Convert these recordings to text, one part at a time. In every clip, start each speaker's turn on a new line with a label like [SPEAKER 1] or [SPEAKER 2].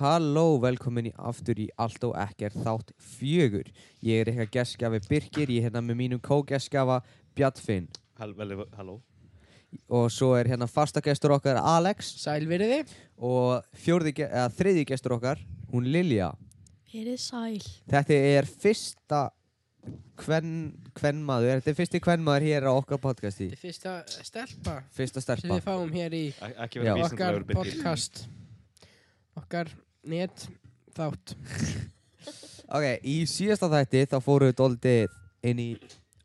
[SPEAKER 1] Halló, velkomin í aftur í Allt og Ekkert þátt fjögur. Ég er eitthvað gestgjafi Birkir, ég er hérna með mínum kógestgjafa Bjartfinn
[SPEAKER 2] Hall, vel, halló
[SPEAKER 1] og svo er hérna fastagestur okkar Alex
[SPEAKER 3] Sælveriði
[SPEAKER 1] og fjórði, ge- eða, þriði gestur okkar, hún Lilja.
[SPEAKER 4] Verið sæl.
[SPEAKER 1] Þetta er fyrsta kvennmaður, þetta er fyrsti kvennmaður hér á okkar podcasti.
[SPEAKER 3] Þetta er fyrsta stelpa
[SPEAKER 1] Fyrsta
[SPEAKER 3] sem við
[SPEAKER 1] stelpa.
[SPEAKER 3] fáum hér í
[SPEAKER 2] Ek- Ekki
[SPEAKER 1] Já.
[SPEAKER 2] vera
[SPEAKER 3] okkar
[SPEAKER 2] vísindalegur Birgir.
[SPEAKER 3] podcast okkar net þátt
[SPEAKER 1] Ok, í síðasta þætti þá fórum við doldið inn í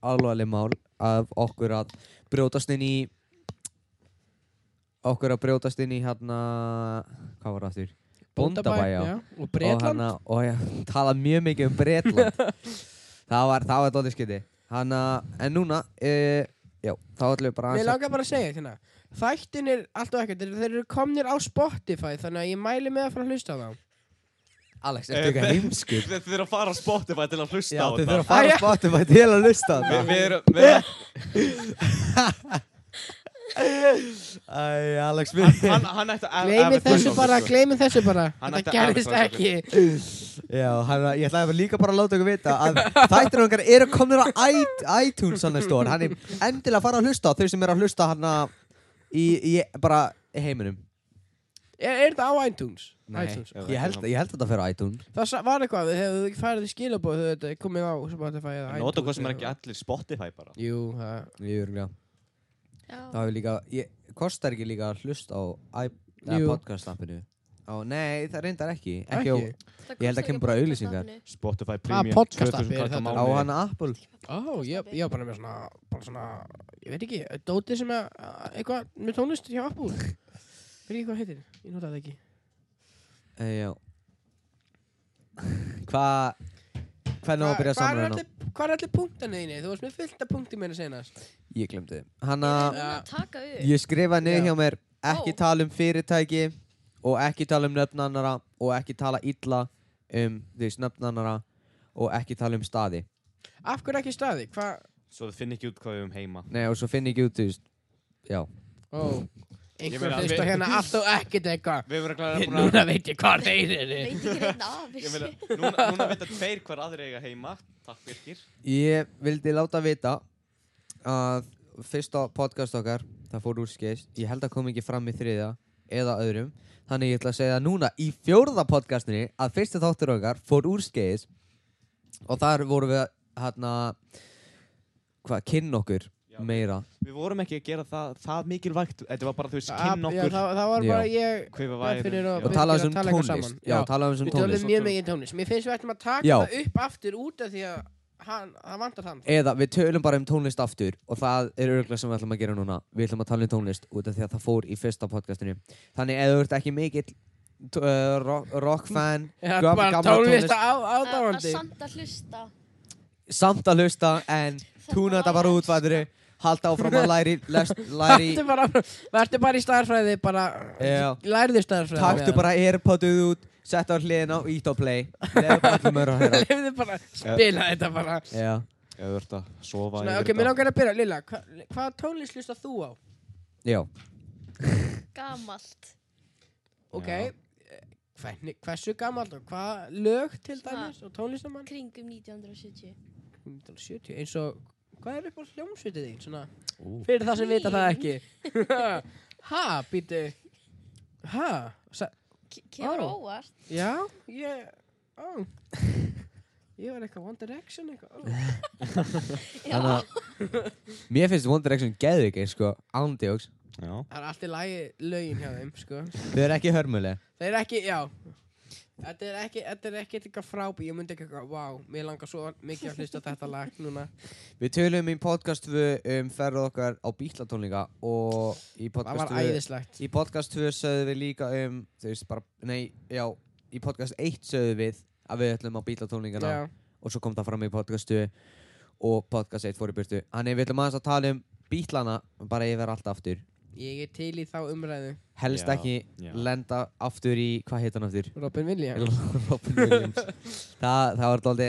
[SPEAKER 1] alvarleg mál af okkur að brjótast inn í okkur að brjótast inn í hérna hvað var það aftur? Bóndabæ, já.
[SPEAKER 3] já, og
[SPEAKER 1] Og,
[SPEAKER 3] Breitland
[SPEAKER 1] hana, og já, tala mjög mikið um Bretland það var, það var doldið skytti hana, en núna uh, já, þá ætlum við bara
[SPEAKER 3] Mér
[SPEAKER 1] aðeins
[SPEAKER 3] langar bara að segja þetta hérna. Þættin er allt og ekkert, þeir- þeir eru komnir á Spotify þannig að ég mæli með að fara að hlusta á þá
[SPEAKER 1] Alex, ertu eitthvað heimskur?
[SPEAKER 2] Þið þurfa að fara á Spotify til að hlusta
[SPEAKER 1] Já,
[SPEAKER 2] á
[SPEAKER 1] þið
[SPEAKER 2] þetta
[SPEAKER 1] þurfa að fara á Spotify til að lusta
[SPEAKER 2] Vi- Við erum við erum-
[SPEAKER 1] Æ, Alex, við
[SPEAKER 2] Hann, hann ætti að
[SPEAKER 3] Gleimi þessu bara,
[SPEAKER 2] sko.
[SPEAKER 3] gleimi þessu bara
[SPEAKER 2] Hann ætti
[SPEAKER 3] Þetta
[SPEAKER 2] að
[SPEAKER 3] gerðist
[SPEAKER 2] advertise
[SPEAKER 3] ekki
[SPEAKER 1] Já, hann, ég ætlaði bara líka bara að láta ykkur vita að þættir okkar eru komnir á i- iTunes hann er stór, hann er endilega að fara að hlusta á þau sem eru að hlusta hann í, í bara í heiminum
[SPEAKER 3] Er, er þetta á iTunes? iTunes.
[SPEAKER 1] ég held,
[SPEAKER 2] hérna.
[SPEAKER 1] ég held að þetta fyrir á iTunes
[SPEAKER 3] Það sa- var eitthvað, þegar þú ekki farið í skilabóð þau þetta komið á Spotify eða iTunes
[SPEAKER 2] Nota hvað sem er ekki
[SPEAKER 3] eða-
[SPEAKER 2] allir Spotify bara
[SPEAKER 3] Jú, það
[SPEAKER 1] Ég er líka Það
[SPEAKER 4] Já.
[SPEAKER 1] hefur líka, ég, kostar ekki líka að hlusta á i- eða
[SPEAKER 3] Jú.
[SPEAKER 1] podcast appinu Ó, nei, það reyndar ekki, ekki,
[SPEAKER 3] Ekki?
[SPEAKER 1] Ég held að kemur bara auglýsingar.
[SPEAKER 2] Spotify Premium
[SPEAKER 3] Ah, podcast appi
[SPEAKER 2] 2000
[SPEAKER 3] er
[SPEAKER 2] kall á
[SPEAKER 3] þetta?
[SPEAKER 1] Á,
[SPEAKER 2] mánuði.
[SPEAKER 1] á hann Apple
[SPEAKER 3] Ó, ég ég var bara með svona, bara svona, ég veit ekki, dóti sem er uh, eitthvað með tónlist hjá Apple. Fyrir ekki hvað heitir, ég nota það ekki.
[SPEAKER 1] e, Já Hvað Hvernig á að byrja að
[SPEAKER 3] Hvar er
[SPEAKER 1] samræna?
[SPEAKER 3] allir- Hvar er allir punktan þínu? Þú varst með fullt af punktum meina senast.
[SPEAKER 1] Ég glemdi Hanna
[SPEAKER 3] Já.
[SPEAKER 4] Ég er núna að taka upp.
[SPEAKER 1] Ég skrifaði niður
[SPEAKER 3] Já.
[SPEAKER 1] hjá mér ekki
[SPEAKER 4] Ó.
[SPEAKER 1] tala um fyrirtæki og ekki tala um nöfnannara og ekki tala illa um þú veist nöfnannara og ekki tala um staði.
[SPEAKER 3] Af hverju ekki staði? Hvað?
[SPEAKER 2] Svo þið finn ekki út hvað við um heima
[SPEAKER 1] Nei og svo finn ég ekki út þú veist, já.
[SPEAKER 3] Ó,
[SPEAKER 2] Ég
[SPEAKER 3] einhver
[SPEAKER 2] meina,
[SPEAKER 3] hlustar
[SPEAKER 2] við-
[SPEAKER 3] hérna allt og ekkert eitthvað.
[SPEAKER 2] Við erum
[SPEAKER 3] Ég-
[SPEAKER 2] ekki búin
[SPEAKER 3] Núna veit ég hvað þeir eru.
[SPEAKER 4] Veit ekki reynd af
[SPEAKER 2] Ég meina,
[SPEAKER 4] þessu.
[SPEAKER 2] núna, núna veit að tveir hver aðri eiga heima Takk Birgir
[SPEAKER 1] Ég vildi láta vita að fyrsta podcast okkar, það fór úr skeist, ég held að kom ekki fram í þriðja eða öðrum. Þannig ég ætla að segja núna í fjórða podcastinni að fyrsta þáttur okkar fór úr skeist og þar vorum við hérna, hvað, kynna okkur
[SPEAKER 2] Já.
[SPEAKER 1] meira.
[SPEAKER 2] Við vorum ekki að gera það, það mikilvægt Þetta var bara þú veist,
[SPEAKER 3] Ab-
[SPEAKER 2] kynna
[SPEAKER 3] Ah, já,
[SPEAKER 2] okkur
[SPEAKER 3] það, það var bara
[SPEAKER 1] Já.
[SPEAKER 3] ég,
[SPEAKER 2] Hvað við
[SPEAKER 3] Bjarnfinnur
[SPEAKER 2] værum
[SPEAKER 3] og-
[SPEAKER 1] og
[SPEAKER 2] já.
[SPEAKER 3] Birgir
[SPEAKER 1] talaðum
[SPEAKER 3] að
[SPEAKER 1] um
[SPEAKER 3] tala eitthvað
[SPEAKER 1] tónlist
[SPEAKER 3] saman.
[SPEAKER 1] já,
[SPEAKER 3] Já.
[SPEAKER 1] talaðum um
[SPEAKER 3] við tölum
[SPEAKER 1] tónlist
[SPEAKER 3] mjög mikið tónlist. Mér finnst við ættum að taka
[SPEAKER 1] Já.
[SPEAKER 3] það upp aftur út af því að hann, það vantar þann.
[SPEAKER 1] eða við tölum bara um tónlist aftur og það er örgulega sem við ætlum að gera núna við ætlum að tala um tónlist út af því að það fór í fyrsta podcastinu þannig eða þú ert ekki mikill t- uh, rock, rock fan
[SPEAKER 3] Já,
[SPEAKER 1] gam-
[SPEAKER 3] bara
[SPEAKER 1] gamla
[SPEAKER 3] tónlist á,
[SPEAKER 4] Að- Að
[SPEAKER 3] ádáandi.
[SPEAKER 4] samt að hlusta.
[SPEAKER 1] samt að hlusta en túna þetta bara út væri halda áfram að læri, lest, læri
[SPEAKER 3] Vertu bara, vertu bara í staðarfræði bara
[SPEAKER 1] Já.
[SPEAKER 3] Lærðu staðarfræði
[SPEAKER 1] taktu bara airpoduð út setta á hliðina og ít á play leðu bara allir mörg að heyra
[SPEAKER 3] Lefðu bara Spila þetta bara
[SPEAKER 1] já.
[SPEAKER 2] Ef þú ert að sofa
[SPEAKER 3] Svona,
[SPEAKER 2] yfir
[SPEAKER 3] Ok, mér
[SPEAKER 2] þetta.
[SPEAKER 3] langar að byrja Lilla, hva, hvaða tónlist hlusta þú á?
[SPEAKER 1] já,
[SPEAKER 4] Gamalt.
[SPEAKER 3] Ok
[SPEAKER 2] Já.
[SPEAKER 3] Hvernig, hversu gamalt og hvaða lög til
[SPEAKER 4] Svona-
[SPEAKER 3] dæmis og tónlistamann?
[SPEAKER 4] Kringum 1970.
[SPEAKER 3] 1970, eins og Hvað er upp á hljómsvitið þín? Svona,
[SPEAKER 2] Ú.
[SPEAKER 3] fyrir það sem vita það ekki
[SPEAKER 4] Queen.
[SPEAKER 3] Ha, býtu Ha, sa,
[SPEAKER 4] Ke- Kemur
[SPEAKER 3] Ó.
[SPEAKER 4] óvart.
[SPEAKER 3] já, ég Ó Ég var eitthvað One Direction eitthvað ó.
[SPEAKER 4] Já.
[SPEAKER 1] þannig að mér finnst One Direction geðvikið sko ándjóks
[SPEAKER 2] Já.
[SPEAKER 3] Það er allt í lagi lögin hjá þeim, sko.
[SPEAKER 1] þau eru ekki hörmuleg
[SPEAKER 3] Það er ekki, já. Þetta er ekki, þetta er ekki eitthvað frábæ, ég myndi ekki eitthvað, vá, mér langar svo mikið að hlusta á þetta lag núna.
[SPEAKER 1] Við tölum í podcast 2 um ferð okkar á bílatónleika og í
[SPEAKER 3] Það
[SPEAKER 1] podcast
[SPEAKER 3] var
[SPEAKER 1] 2
[SPEAKER 3] æðislegt.
[SPEAKER 1] Í podcast 2 sögðum við líka um þú veist bara, nei, já í podcast 1 sögðum við að við ætlum á
[SPEAKER 2] Hérna.
[SPEAKER 1] bílatónleikana
[SPEAKER 3] Já,
[SPEAKER 1] og svo kom það fram í podcast 2 og podcast 1 fór í burtu Þannig við ætlum aðeins að tala um bílana bara yfir allt aftur
[SPEAKER 3] ég er til í þá umræðu.
[SPEAKER 1] Helst
[SPEAKER 2] Já,
[SPEAKER 1] ekki
[SPEAKER 2] já.
[SPEAKER 1] lenda aftur í, hvað heit hann aftur?
[SPEAKER 3] Robin Williams.
[SPEAKER 1] Robin Williams Það, það var daldi,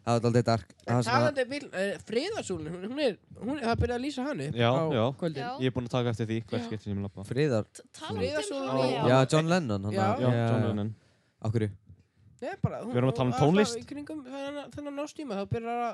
[SPEAKER 1] það var daldi dark Það var
[SPEAKER 3] En
[SPEAKER 1] svona,
[SPEAKER 3] talandi vil, uh, friðarsúlun, hún, hún er, hún er, það er byrjað að lýsa hann upp
[SPEAKER 2] Já,
[SPEAKER 3] á
[SPEAKER 2] já.
[SPEAKER 3] kvöldin.
[SPEAKER 4] Já.
[SPEAKER 2] Ég er búinn að taka eftir því Hvert getur sem ég lappa
[SPEAKER 1] friðar
[SPEAKER 4] T- Talandi um
[SPEAKER 3] Friðarsúlan
[SPEAKER 4] hann.
[SPEAKER 3] í-
[SPEAKER 1] Já, John Lennon hann
[SPEAKER 3] Já.
[SPEAKER 1] að-
[SPEAKER 2] Já, John Lennon
[SPEAKER 1] Akkur
[SPEAKER 3] Nei, bara, hún,
[SPEAKER 2] Við erum að tala um
[SPEAKER 3] hún var alltaf
[SPEAKER 2] tónlist.
[SPEAKER 3] Í kringum þennan- þennan nástíma þá byrjar að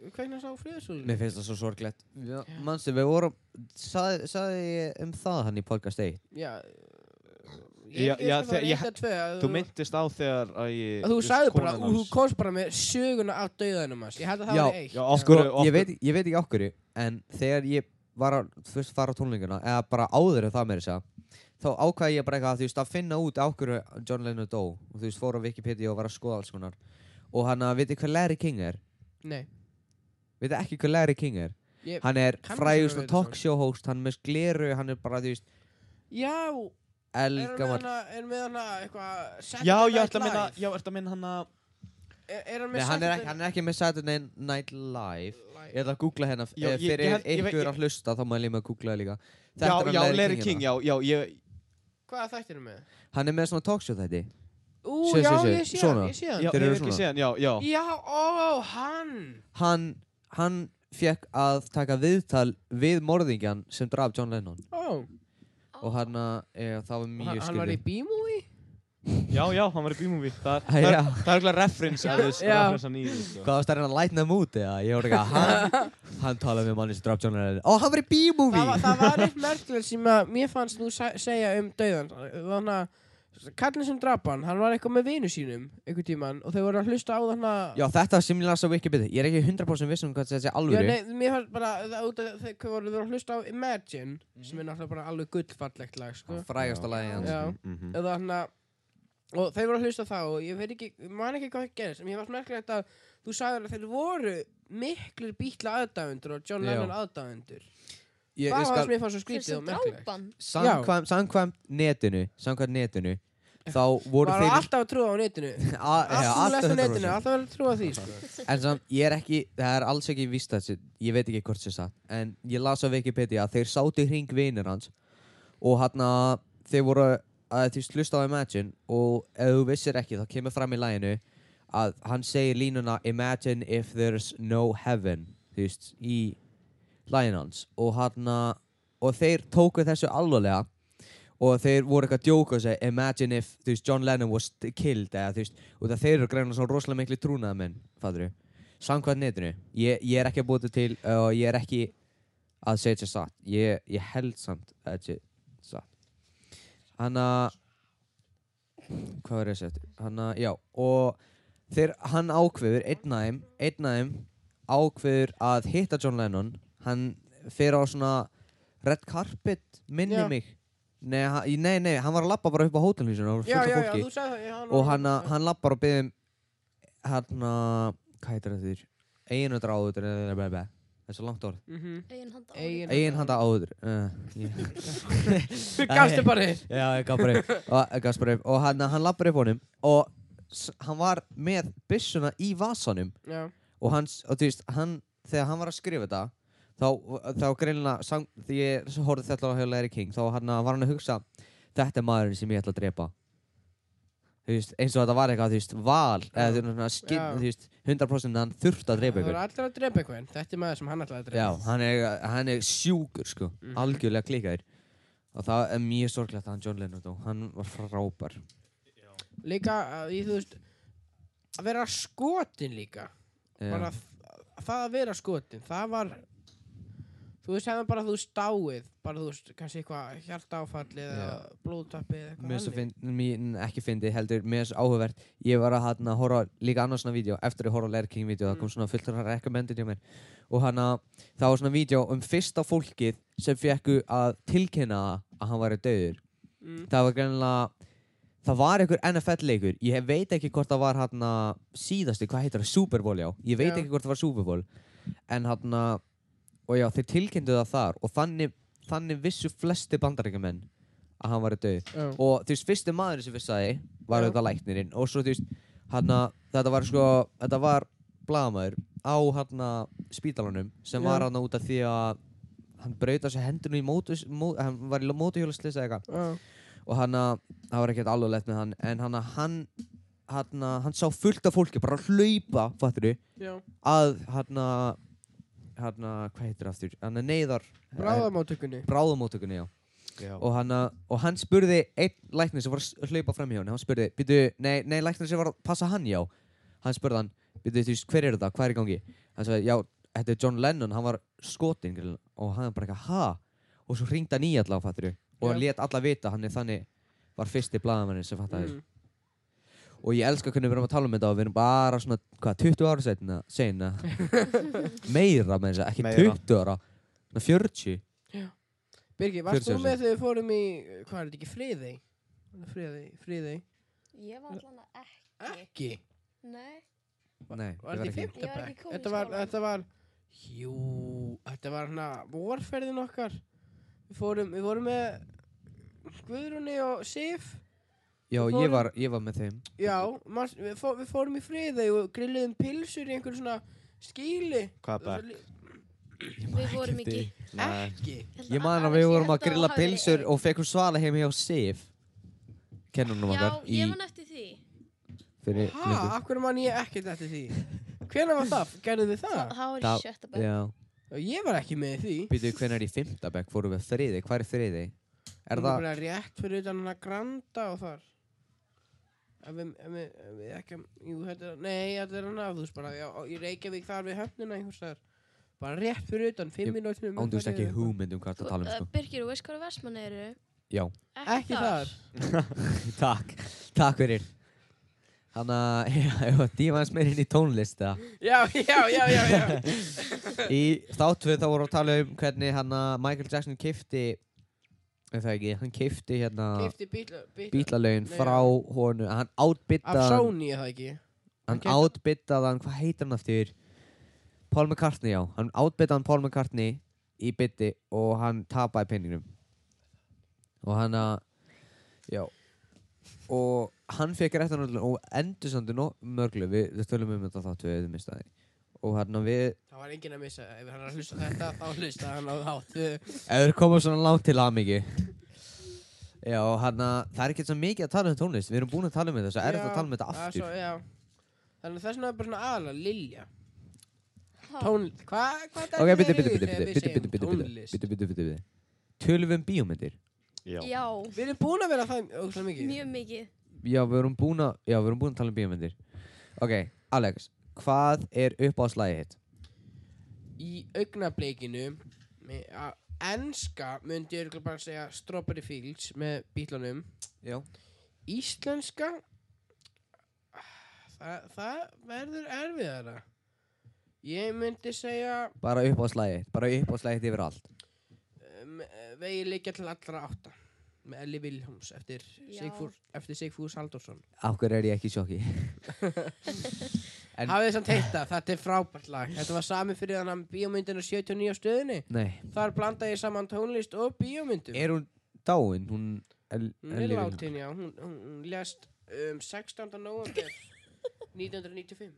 [SPEAKER 1] Já,
[SPEAKER 3] kveikna sá friðarsúlinu.
[SPEAKER 1] mér finnst það svo sorglegt Já,
[SPEAKER 3] Já.
[SPEAKER 1] Manstu, við vorum Sagði, sagði ég um það hann í podcast 1
[SPEAKER 3] Já, eh,
[SPEAKER 2] Já,
[SPEAKER 3] ég, ég,
[SPEAKER 2] já,
[SPEAKER 3] ég,
[SPEAKER 2] þegar-
[SPEAKER 3] ég,
[SPEAKER 2] ég-
[SPEAKER 3] ég, tvö, að
[SPEAKER 2] Þú myndist á þegar að ég...
[SPEAKER 3] að þú
[SPEAKER 2] just
[SPEAKER 3] sagði bara,
[SPEAKER 2] konan
[SPEAKER 3] og þú
[SPEAKER 2] hans.
[SPEAKER 3] komst bara með söguna af döðanum hans. Ég held að það
[SPEAKER 1] Já,
[SPEAKER 3] var eitt.
[SPEAKER 2] Já, okkur,
[SPEAKER 1] Sko,
[SPEAKER 2] okkur,
[SPEAKER 1] ég veit, ég veit ekki okkur En þegar ég var að þú veist, fara á tónleikuna Eða bara áður en það meira þess að Þá ákvæði ég bara eitthvað þú veist, að finna út af hverju John Lennon dó og þú veist fór á Wikipedia og var að skoða alls konar og hann að veit hvað Larry King er
[SPEAKER 3] Nei,
[SPEAKER 1] veit ekki hvað Larry King er
[SPEAKER 3] ég,
[SPEAKER 1] hann er
[SPEAKER 3] kann
[SPEAKER 1] frægur
[SPEAKER 3] ekki að
[SPEAKER 1] svona
[SPEAKER 3] vita það.
[SPEAKER 1] talkshow host hann er með skleru, hann er bara þú veist
[SPEAKER 3] já, erum við
[SPEAKER 1] elgamall
[SPEAKER 3] hana, erum við hana eitthvað,
[SPEAKER 2] Já,
[SPEAKER 3] Saturday
[SPEAKER 2] ég
[SPEAKER 3] Night
[SPEAKER 2] ætla að minna,
[SPEAKER 3] Live?
[SPEAKER 2] já, ertu að minna hann að...
[SPEAKER 3] Er, er hann
[SPEAKER 1] Nei,
[SPEAKER 3] með um
[SPEAKER 1] hann er, ekki, hann er ekki með Saturday Night Live
[SPEAKER 3] Live?
[SPEAKER 1] Ég ætla að googla hérna
[SPEAKER 2] Já,
[SPEAKER 1] eh,
[SPEAKER 2] ég- ég
[SPEAKER 1] Fyrir
[SPEAKER 2] held- ég veit-
[SPEAKER 1] ykkur
[SPEAKER 2] ég-
[SPEAKER 1] að hlusta þá mæl ég með að googla það líka
[SPEAKER 2] Já,
[SPEAKER 1] Þetta er um hann
[SPEAKER 2] já, Larry King, já, já, ég...
[SPEAKER 3] Hvaða þættir erum við?
[SPEAKER 1] já hérna. Hann er með svona talkshow þetta
[SPEAKER 3] Ú,
[SPEAKER 1] Sé,
[SPEAKER 3] já,
[SPEAKER 1] sé, sé,
[SPEAKER 3] ég sé
[SPEAKER 1] svona.
[SPEAKER 3] hann, ég sé hann.
[SPEAKER 2] Já,
[SPEAKER 1] Þeir
[SPEAKER 2] ég
[SPEAKER 1] eru
[SPEAKER 2] veit ekki
[SPEAKER 1] svona.
[SPEAKER 2] síðan, já, já.
[SPEAKER 3] Já, ó, hann.
[SPEAKER 1] Hann, hann fekk að taka viðtal við morðingjan sem draf John Lennon
[SPEAKER 3] Ó,
[SPEAKER 1] Og hann að, e, það var
[SPEAKER 3] hann,
[SPEAKER 1] mjög
[SPEAKER 3] hann var í
[SPEAKER 1] skildið
[SPEAKER 3] B-movie?
[SPEAKER 2] Já, já, hann var í B-movie. Það
[SPEAKER 1] Ah,
[SPEAKER 2] er
[SPEAKER 1] já.
[SPEAKER 2] eitthvað reference að þess,
[SPEAKER 3] Já.
[SPEAKER 2] reference hann í þessu. sko.
[SPEAKER 1] Hvað varst það að lætna þeim út eða? Ég voru ekki að hann, hann talaði með manni sem draf John Lennon Ó, hann var í
[SPEAKER 3] Það,
[SPEAKER 1] B-movie
[SPEAKER 3] var- það var eitt merkilegt sem að mér fannst þú se- segja um döðan. Þannig að kallin sem drap hann, hann var eitthvað með vinu sínum einhvern tíman og þau voru að hlusta á þannig að...
[SPEAKER 1] Já, þetta var sem ég las á Wikipedia Ég er ekki 100% viss um hvað þetta sé
[SPEAKER 3] Já,
[SPEAKER 1] alvöru
[SPEAKER 3] nei, mér fannst bara, það út af þau þau voru að hlusta á Imagine,
[SPEAKER 4] Mhm.
[SPEAKER 3] sem er náttúrulega bara alveg gullfallegt lag,
[SPEAKER 1] Mm.
[SPEAKER 3] sko.
[SPEAKER 1] Frægasta lagi hans
[SPEAKER 3] Já.
[SPEAKER 2] Mhm.
[SPEAKER 3] eða hann og þeir voru að hlusta þá og ég veit ekki, man ekki hvað það gerist en ég varst merkilegt að þú sagðir að þeir voru miklir bítla aðdæfundur og John
[SPEAKER 1] Já.
[SPEAKER 3] Lennon aðdæfundur
[SPEAKER 1] Ég,
[SPEAKER 3] það
[SPEAKER 1] ég
[SPEAKER 3] var það
[SPEAKER 1] skal
[SPEAKER 3] sem ég fannst svo
[SPEAKER 4] Þeir
[SPEAKER 3] skrítið
[SPEAKER 4] sem
[SPEAKER 3] og merkilegt
[SPEAKER 4] drápan
[SPEAKER 1] samkvæmt samkvæm netinu samkvæmt netinu þá voru
[SPEAKER 3] maður
[SPEAKER 1] þeir
[SPEAKER 3] var alltaf að trúa á netinu
[SPEAKER 1] a- já,
[SPEAKER 3] alltaf að lesa á netinu,
[SPEAKER 1] 100%.
[SPEAKER 3] alltaf að trúa því sko.
[SPEAKER 1] en samt ég er ekki það er alls ekki víst þessi ég veit ekki hvort sér satt en ég las á Wikipedia að þeir sátu hring vinir hans og hann að þeir voru að því slusta á Imagine og ef þú vissir ekki þá kemur fram í læginu að hann segir línuna Imagine if there's no heaven þú veist í lægin hans og hann að og þeir tóku þessu alvarlega og þeir voru eitthvað að djóka og segja imagine if þú veist, John Lennon was t- killed eða þú veist, út af þeir eru greina svona rosalega miklu trúnaða menn, fattur þú samkvæmt netinu, ég, ég er ekki að búa þetta til uh, og ég er ekki að segja þetta satt, ég, ég held samt að þetta sé satt hann að hvað var ég að segja þetta, hann að, já og þeir, hann ákveður einn af þeim, einn af þeim ákveður að hitta John Lennon hann fer á svona red carpet minni
[SPEAKER 3] Já.
[SPEAKER 1] mig Nei, ha- í- nei, nei, hann var að lappa bara upp á hótelhúsinu og fullt
[SPEAKER 3] já, já,
[SPEAKER 1] af
[SPEAKER 3] já,
[SPEAKER 1] fólki
[SPEAKER 3] þú sagði það já,
[SPEAKER 1] og hann,
[SPEAKER 3] hérna
[SPEAKER 1] hann lappar og byrðum hann að, hvað heitir þetta þér? Eiginhanda áður það er svo langt orð
[SPEAKER 3] mm -hmm.
[SPEAKER 4] Egin handa
[SPEAKER 3] Eigin-
[SPEAKER 1] Eiginhanda áður uh, yeah.
[SPEAKER 3] gafstu bara þér
[SPEAKER 1] Já, ég gaf bara upp og, ég gafst bara upp. og hann, hann lappar upp honum og s- hann var með byssuna í vasanum
[SPEAKER 3] já,
[SPEAKER 1] og, hans, og þú veist, hann, þegar hann var að skrifa þetta þá, þá greinlega sang, því ég horfði þetta á hjá Larry King þá hann, var hann að hugsa þetta er maðurinn sem ég ætla að drepa þú veist, eins og þetta var eitthvað þú veist, val eða þú veist, skil,
[SPEAKER 3] Já.
[SPEAKER 1] þú veist, 100% hann þurft að drepa
[SPEAKER 3] það voru
[SPEAKER 1] ykkur
[SPEAKER 3] allir að drepa einhvern þetta er maður sem hann ætlaði að
[SPEAKER 1] Já,
[SPEAKER 3] drepa
[SPEAKER 1] hann er, hann er sjúkur sko,
[SPEAKER 3] Mhm.
[SPEAKER 1] algjörlega klikaður og það er mjög sorglegt að hann John Lennon dó, hann var frábær
[SPEAKER 3] líka, að, ég, þú veist að vera skotin líka bara
[SPEAKER 1] Já,
[SPEAKER 3] þ- það að vera skotin það var þú veist hefðan bara þú stáið bara þú veist kannski eitthvað hjartáfalli eða blóðtappi eða
[SPEAKER 1] Mér
[SPEAKER 3] eitthvað
[SPEAKER 1] svo
[SPEAKER 3] þannig.
[SPEAKER 1] finn, mín, ekki fyndi heldur, mér svo áhugavert Ég var að hana, horfa líka annars svona vídeo Eftir að horfa á Larry King vídeo, það
[SPEAKER 3] Mm.
[SPEAKER 1] kom svona fullt að rekommendin hjá mér Og hana, það var svona vídeo um fyrsta fólkið Sem fekku að tilkynna að hann væri dauður
[SPEAKER 3] Mm.
[SPEAKER 1] Það var greinlega Það var einhver NFL leikur Ég veit ekki hvort það var hana, síðasti, hvað heitir það, Super Bowl já Ég veit
[SPEAKER 3] Já.
[SPEAKER 1] ekki hvort það var Super Bowl En hana, og já, þeir tilkynntu það þar Og þannig, þannig vissu flesti bandaríkjumenn Að hann væri dauður
[SPEAKER 3] Já.
[SPEAKER 1] og þú veist, fyrsti maður sem vissaði var
[SPEAKER 3] Já.
[SPEAKER 1] auðvitað læknirinn og svo þú veist, hann þetta var sko, þetta var blagamæður á hann spítalanum sem
[SPEAKER 3] Já.
[SPEAKER 1] var hann út af því að hann braut á sig hendunum í mótus, mó, hann var í mótuhjólastlisa eitthvað
[SPEAKER 3] Já.
[SPEAKER 1] og hann að, það var ekkert alveg lett með hann en hann að hann hann, að- hann sá fullt af fólki bara hlaupa fattur
[SPEAKER 3] já
[SPEAKER 1] að hann að hann að, hvað heitir aftur, hann að neyðar
[SPEAKER 3] bráðamáttökunni
[SPEAKER 1] bráðamótökunni, já
[SPEAKER 2] Já.
[SPEAKER 1] og hann, að- og hann spurði einn læknir sem var að s- hlaupa fram hjá hann hann spurði, býtu, nei, nei, læknir sem var að passa hann já, hann spurði hann býtu, þú veist, hver er þetta, hvað er í gangi hann sagði, já, þetta er John Lennon, hann var skotin greinilega." og hann bara eitthvað, ha og svo ringd hann í alla, fattur og hann
[SPEAKER 3] Já.
[SPEAKER 1] let alla vita, hann er þannig var fyrsti blaðamannin sem fattar þessu
[SPEAKER 3] Mm.
[SPEAKER 1] og ég elska hvernig við erum að tala um þetta og við erum bara svona, hvað, 20 ára setna, sena meira með þess að, ekki
[SPEAKER 2] Meira.
[SPEAKER 1] 20 ára svona 40
[SPEAKER 3] Birgir, varst þú
[SPEAKER 1] 40
[SPEAKER 3] með þegar við fórum í, hvað er þetta ekki, friði? Friði, friði.
[SPEAKER 4] Ég var allan að ekki.
[SPEAKER 3] Ekki.
[SPEAKER 4] Nei.
[SPEAKER 1] Nei, ég
[SPEAKER 3] Var
[SPEAKER 1] var
[SPEAKER 3] þetta í
[SPEAKER 1] ekki
[SPEAKER 4] Ég var
[SPEAKER 3] fimmtabæk?
[SPEAKER 4] ekki komin í
[SPEAKER 3] Þetta var,
[SPEAKER 4] skólann.
[SPEAKER 3] þetta var, jú, þetta var hana vorferðin okkar. Við fórum, við fórum með Guðrunni og Sif.
[SPEAKER 1] Já,
[SPEAKER 3] Við
[SPEAKER 1] ég
[SPEAKER 3] fórum-
[SPEAKER 1] var, ég var með þeim
[SPEAKER 3] Já, mas, við, fó, við fórum í friði og grilliðum pilsur um í einhver svona skíli.
[SPEAKER 2] Hvaða
[SPEAKER 3] Það var
[SPEAKER 2] bekk?
[SPEAKER 3] li-
[SPEAKER 4] Við vorum ekki.
[SPEAKER 2] Nei,
[SPEAKER 3] Ekki.
[SPEAKER 1] Ég man að við vorum að grilla pilsur og fekum svala heim hjá Sif kennunum
[SPEAKER 4] Já,
[SPEAKER 1] okkar í
[SPEAKER 4] ég man eftir því.
[SPEAKER 1] fyrir
[SPEAKER 3] Ha,
[SPEAKER 1] löngu.
[SPEAKER 3] af hverju man ég ekkert eftir því? Hvenær var það? Gerðu þið það?
[SPEAKER 4] Það var í
[SPEAKER 1] Það-
[SPEAKER 4] sjötta bæk.
[SPEAKER 1] Já,
[SPEAKER 3] Ég var ekki með í því.
[SPEAKER 1] býtu hvenær í fimmtabæk fórum við þriði, hvað er þriði? Er
[SPEAKER 3] Hún
[SPEAKER 1] það,
[SPEAKER 3] bara rétt fyrir utan hana granda og þar ef við, ef við, ef við ekki jú, þetta er, nei, þetta er hana þú veist bara, já, í Reykjavík þar við höfnina einhvers þar, bara rétt fyrir utan
[SPEAKER 1] Ég-
[SPEAKER 3] fimm minútur
[SPEAKER 1] ándúst ekki húmynd um hvað það tala um sko
[SPEAKER 4] Birgir, þú uh, veist hvað versmann eru?
[SPEAKER 1] Já,
[SPEAKER 3] ekki þar,
[SPEAKER 1] takk, takk fyrir Þannig að, já, ég var dífans meir inn í tónlist það
[SPEAKER 3] já, já, já, já, já.
[SPEAKER 1] Í þáttu þá vorum við að tala um hvernig hann að Michael Jackson kifti ef það ekki, hann kifti hérna
[SPEAKER 3] kefti bíla, bíla,
[SPEAKER 1] bílalögin
[SPEAKER 3] Nei,
[SPEAKER 1] frá honu hann
[SPEAKER 3] af
[SPEAKER 1] átbyttaði hann-
[SPEAKER 3] Sony er það ekki
[SPEAKER 1] hann
[SPEAKER 3] hann keypti-
[SPEAKER 1] átbyttaði hann, hvað heitir hann aftur Paul McCartney já, hann átbyttaði hann Paul McCartney í bytti og hann tapaði penningnum og hann að já og hann fekk réttan öll og endur samt nóg mörglu við, við tölum um þetta þáttu við mistaði og hann að við
[SPEAKER 3] það var enginn að missa, ef hann er að hlusta þetta þá hlusta hann á þáttu
[SPEAKER 1] Ef þeir koma svona langt til aðmyggi Já, hann að það er ekki svo mikið að tala um tónlist Við erum búin að tala um þetta, svo er þetta
[SPEAKER 3] Já,
[SPEAKER 1] að tala um þetta
[SPEAKER 3] það er
[SPEAKER 1] aftur
[SPEAKER 3] svo, já. þannig að þess vegna er bara svona aðalega Lilja
[SPEAKER 4] Tón.
[SPEAKER 3] Tón, hvað, hvað
[SPEAKER 1] Ok, bitti, bitti, bitti, bitti, bitti, bitti, bitti, bitti, bitti, bitti Tölum við um bíómyndir
[SPEAKER 2] já.
[SPEAKER 4] Já,
[SPEAKER 3] Við erum búin að vera það ógslag mikið.
[SPEAKER 4] mjög mikið.
[SPEAKER 1] Já, við erum búin að, já, við erum búin að tala um bíómyndir Ok, Alex, hvað er uppáðslæðið hitt?
[SPEAKER 3] Í augnableikinu, með að enska myndi ég örugglega bara segja Strawberry Fields með bílunum.
[SPEAKER 1] Já
[SPEAKER 3] Íslenska, það, það verður erfiðara. Ég myndi segja
[SPEAKER 1] Bara uppáðslæðið, bara uppáðslæðið yfir allt
[SPEAKER 3] um, vegi leikja til allra átta með Ellie Viljáms eftir
[SPEAKER 4] Já.
[SPEAKER 3] Sigfús, eftir Sigfús Halldórsson.
[SPEAKER 1] Af hverju er ég ekki í sjokki? En-
[SPEAKER 3] Hafið þið samt heitt það, þetta er frábært lag. Þetta var sami fyrir þannig bíómyndinu 79 á stöðinni.
[SPEAKER 1] Nei
[SPEAKER 3] Þar blanda ég saman tónlist og bíómyndum.
[SPEAKER 1] Er hún dáin? Hún El-
[SPEAKER 3] Hún er
[SPEAKER 1] Ellie Wild-
[SPEAKER 3] látin, já. Hún, hún, hún lest um 16. november 1995.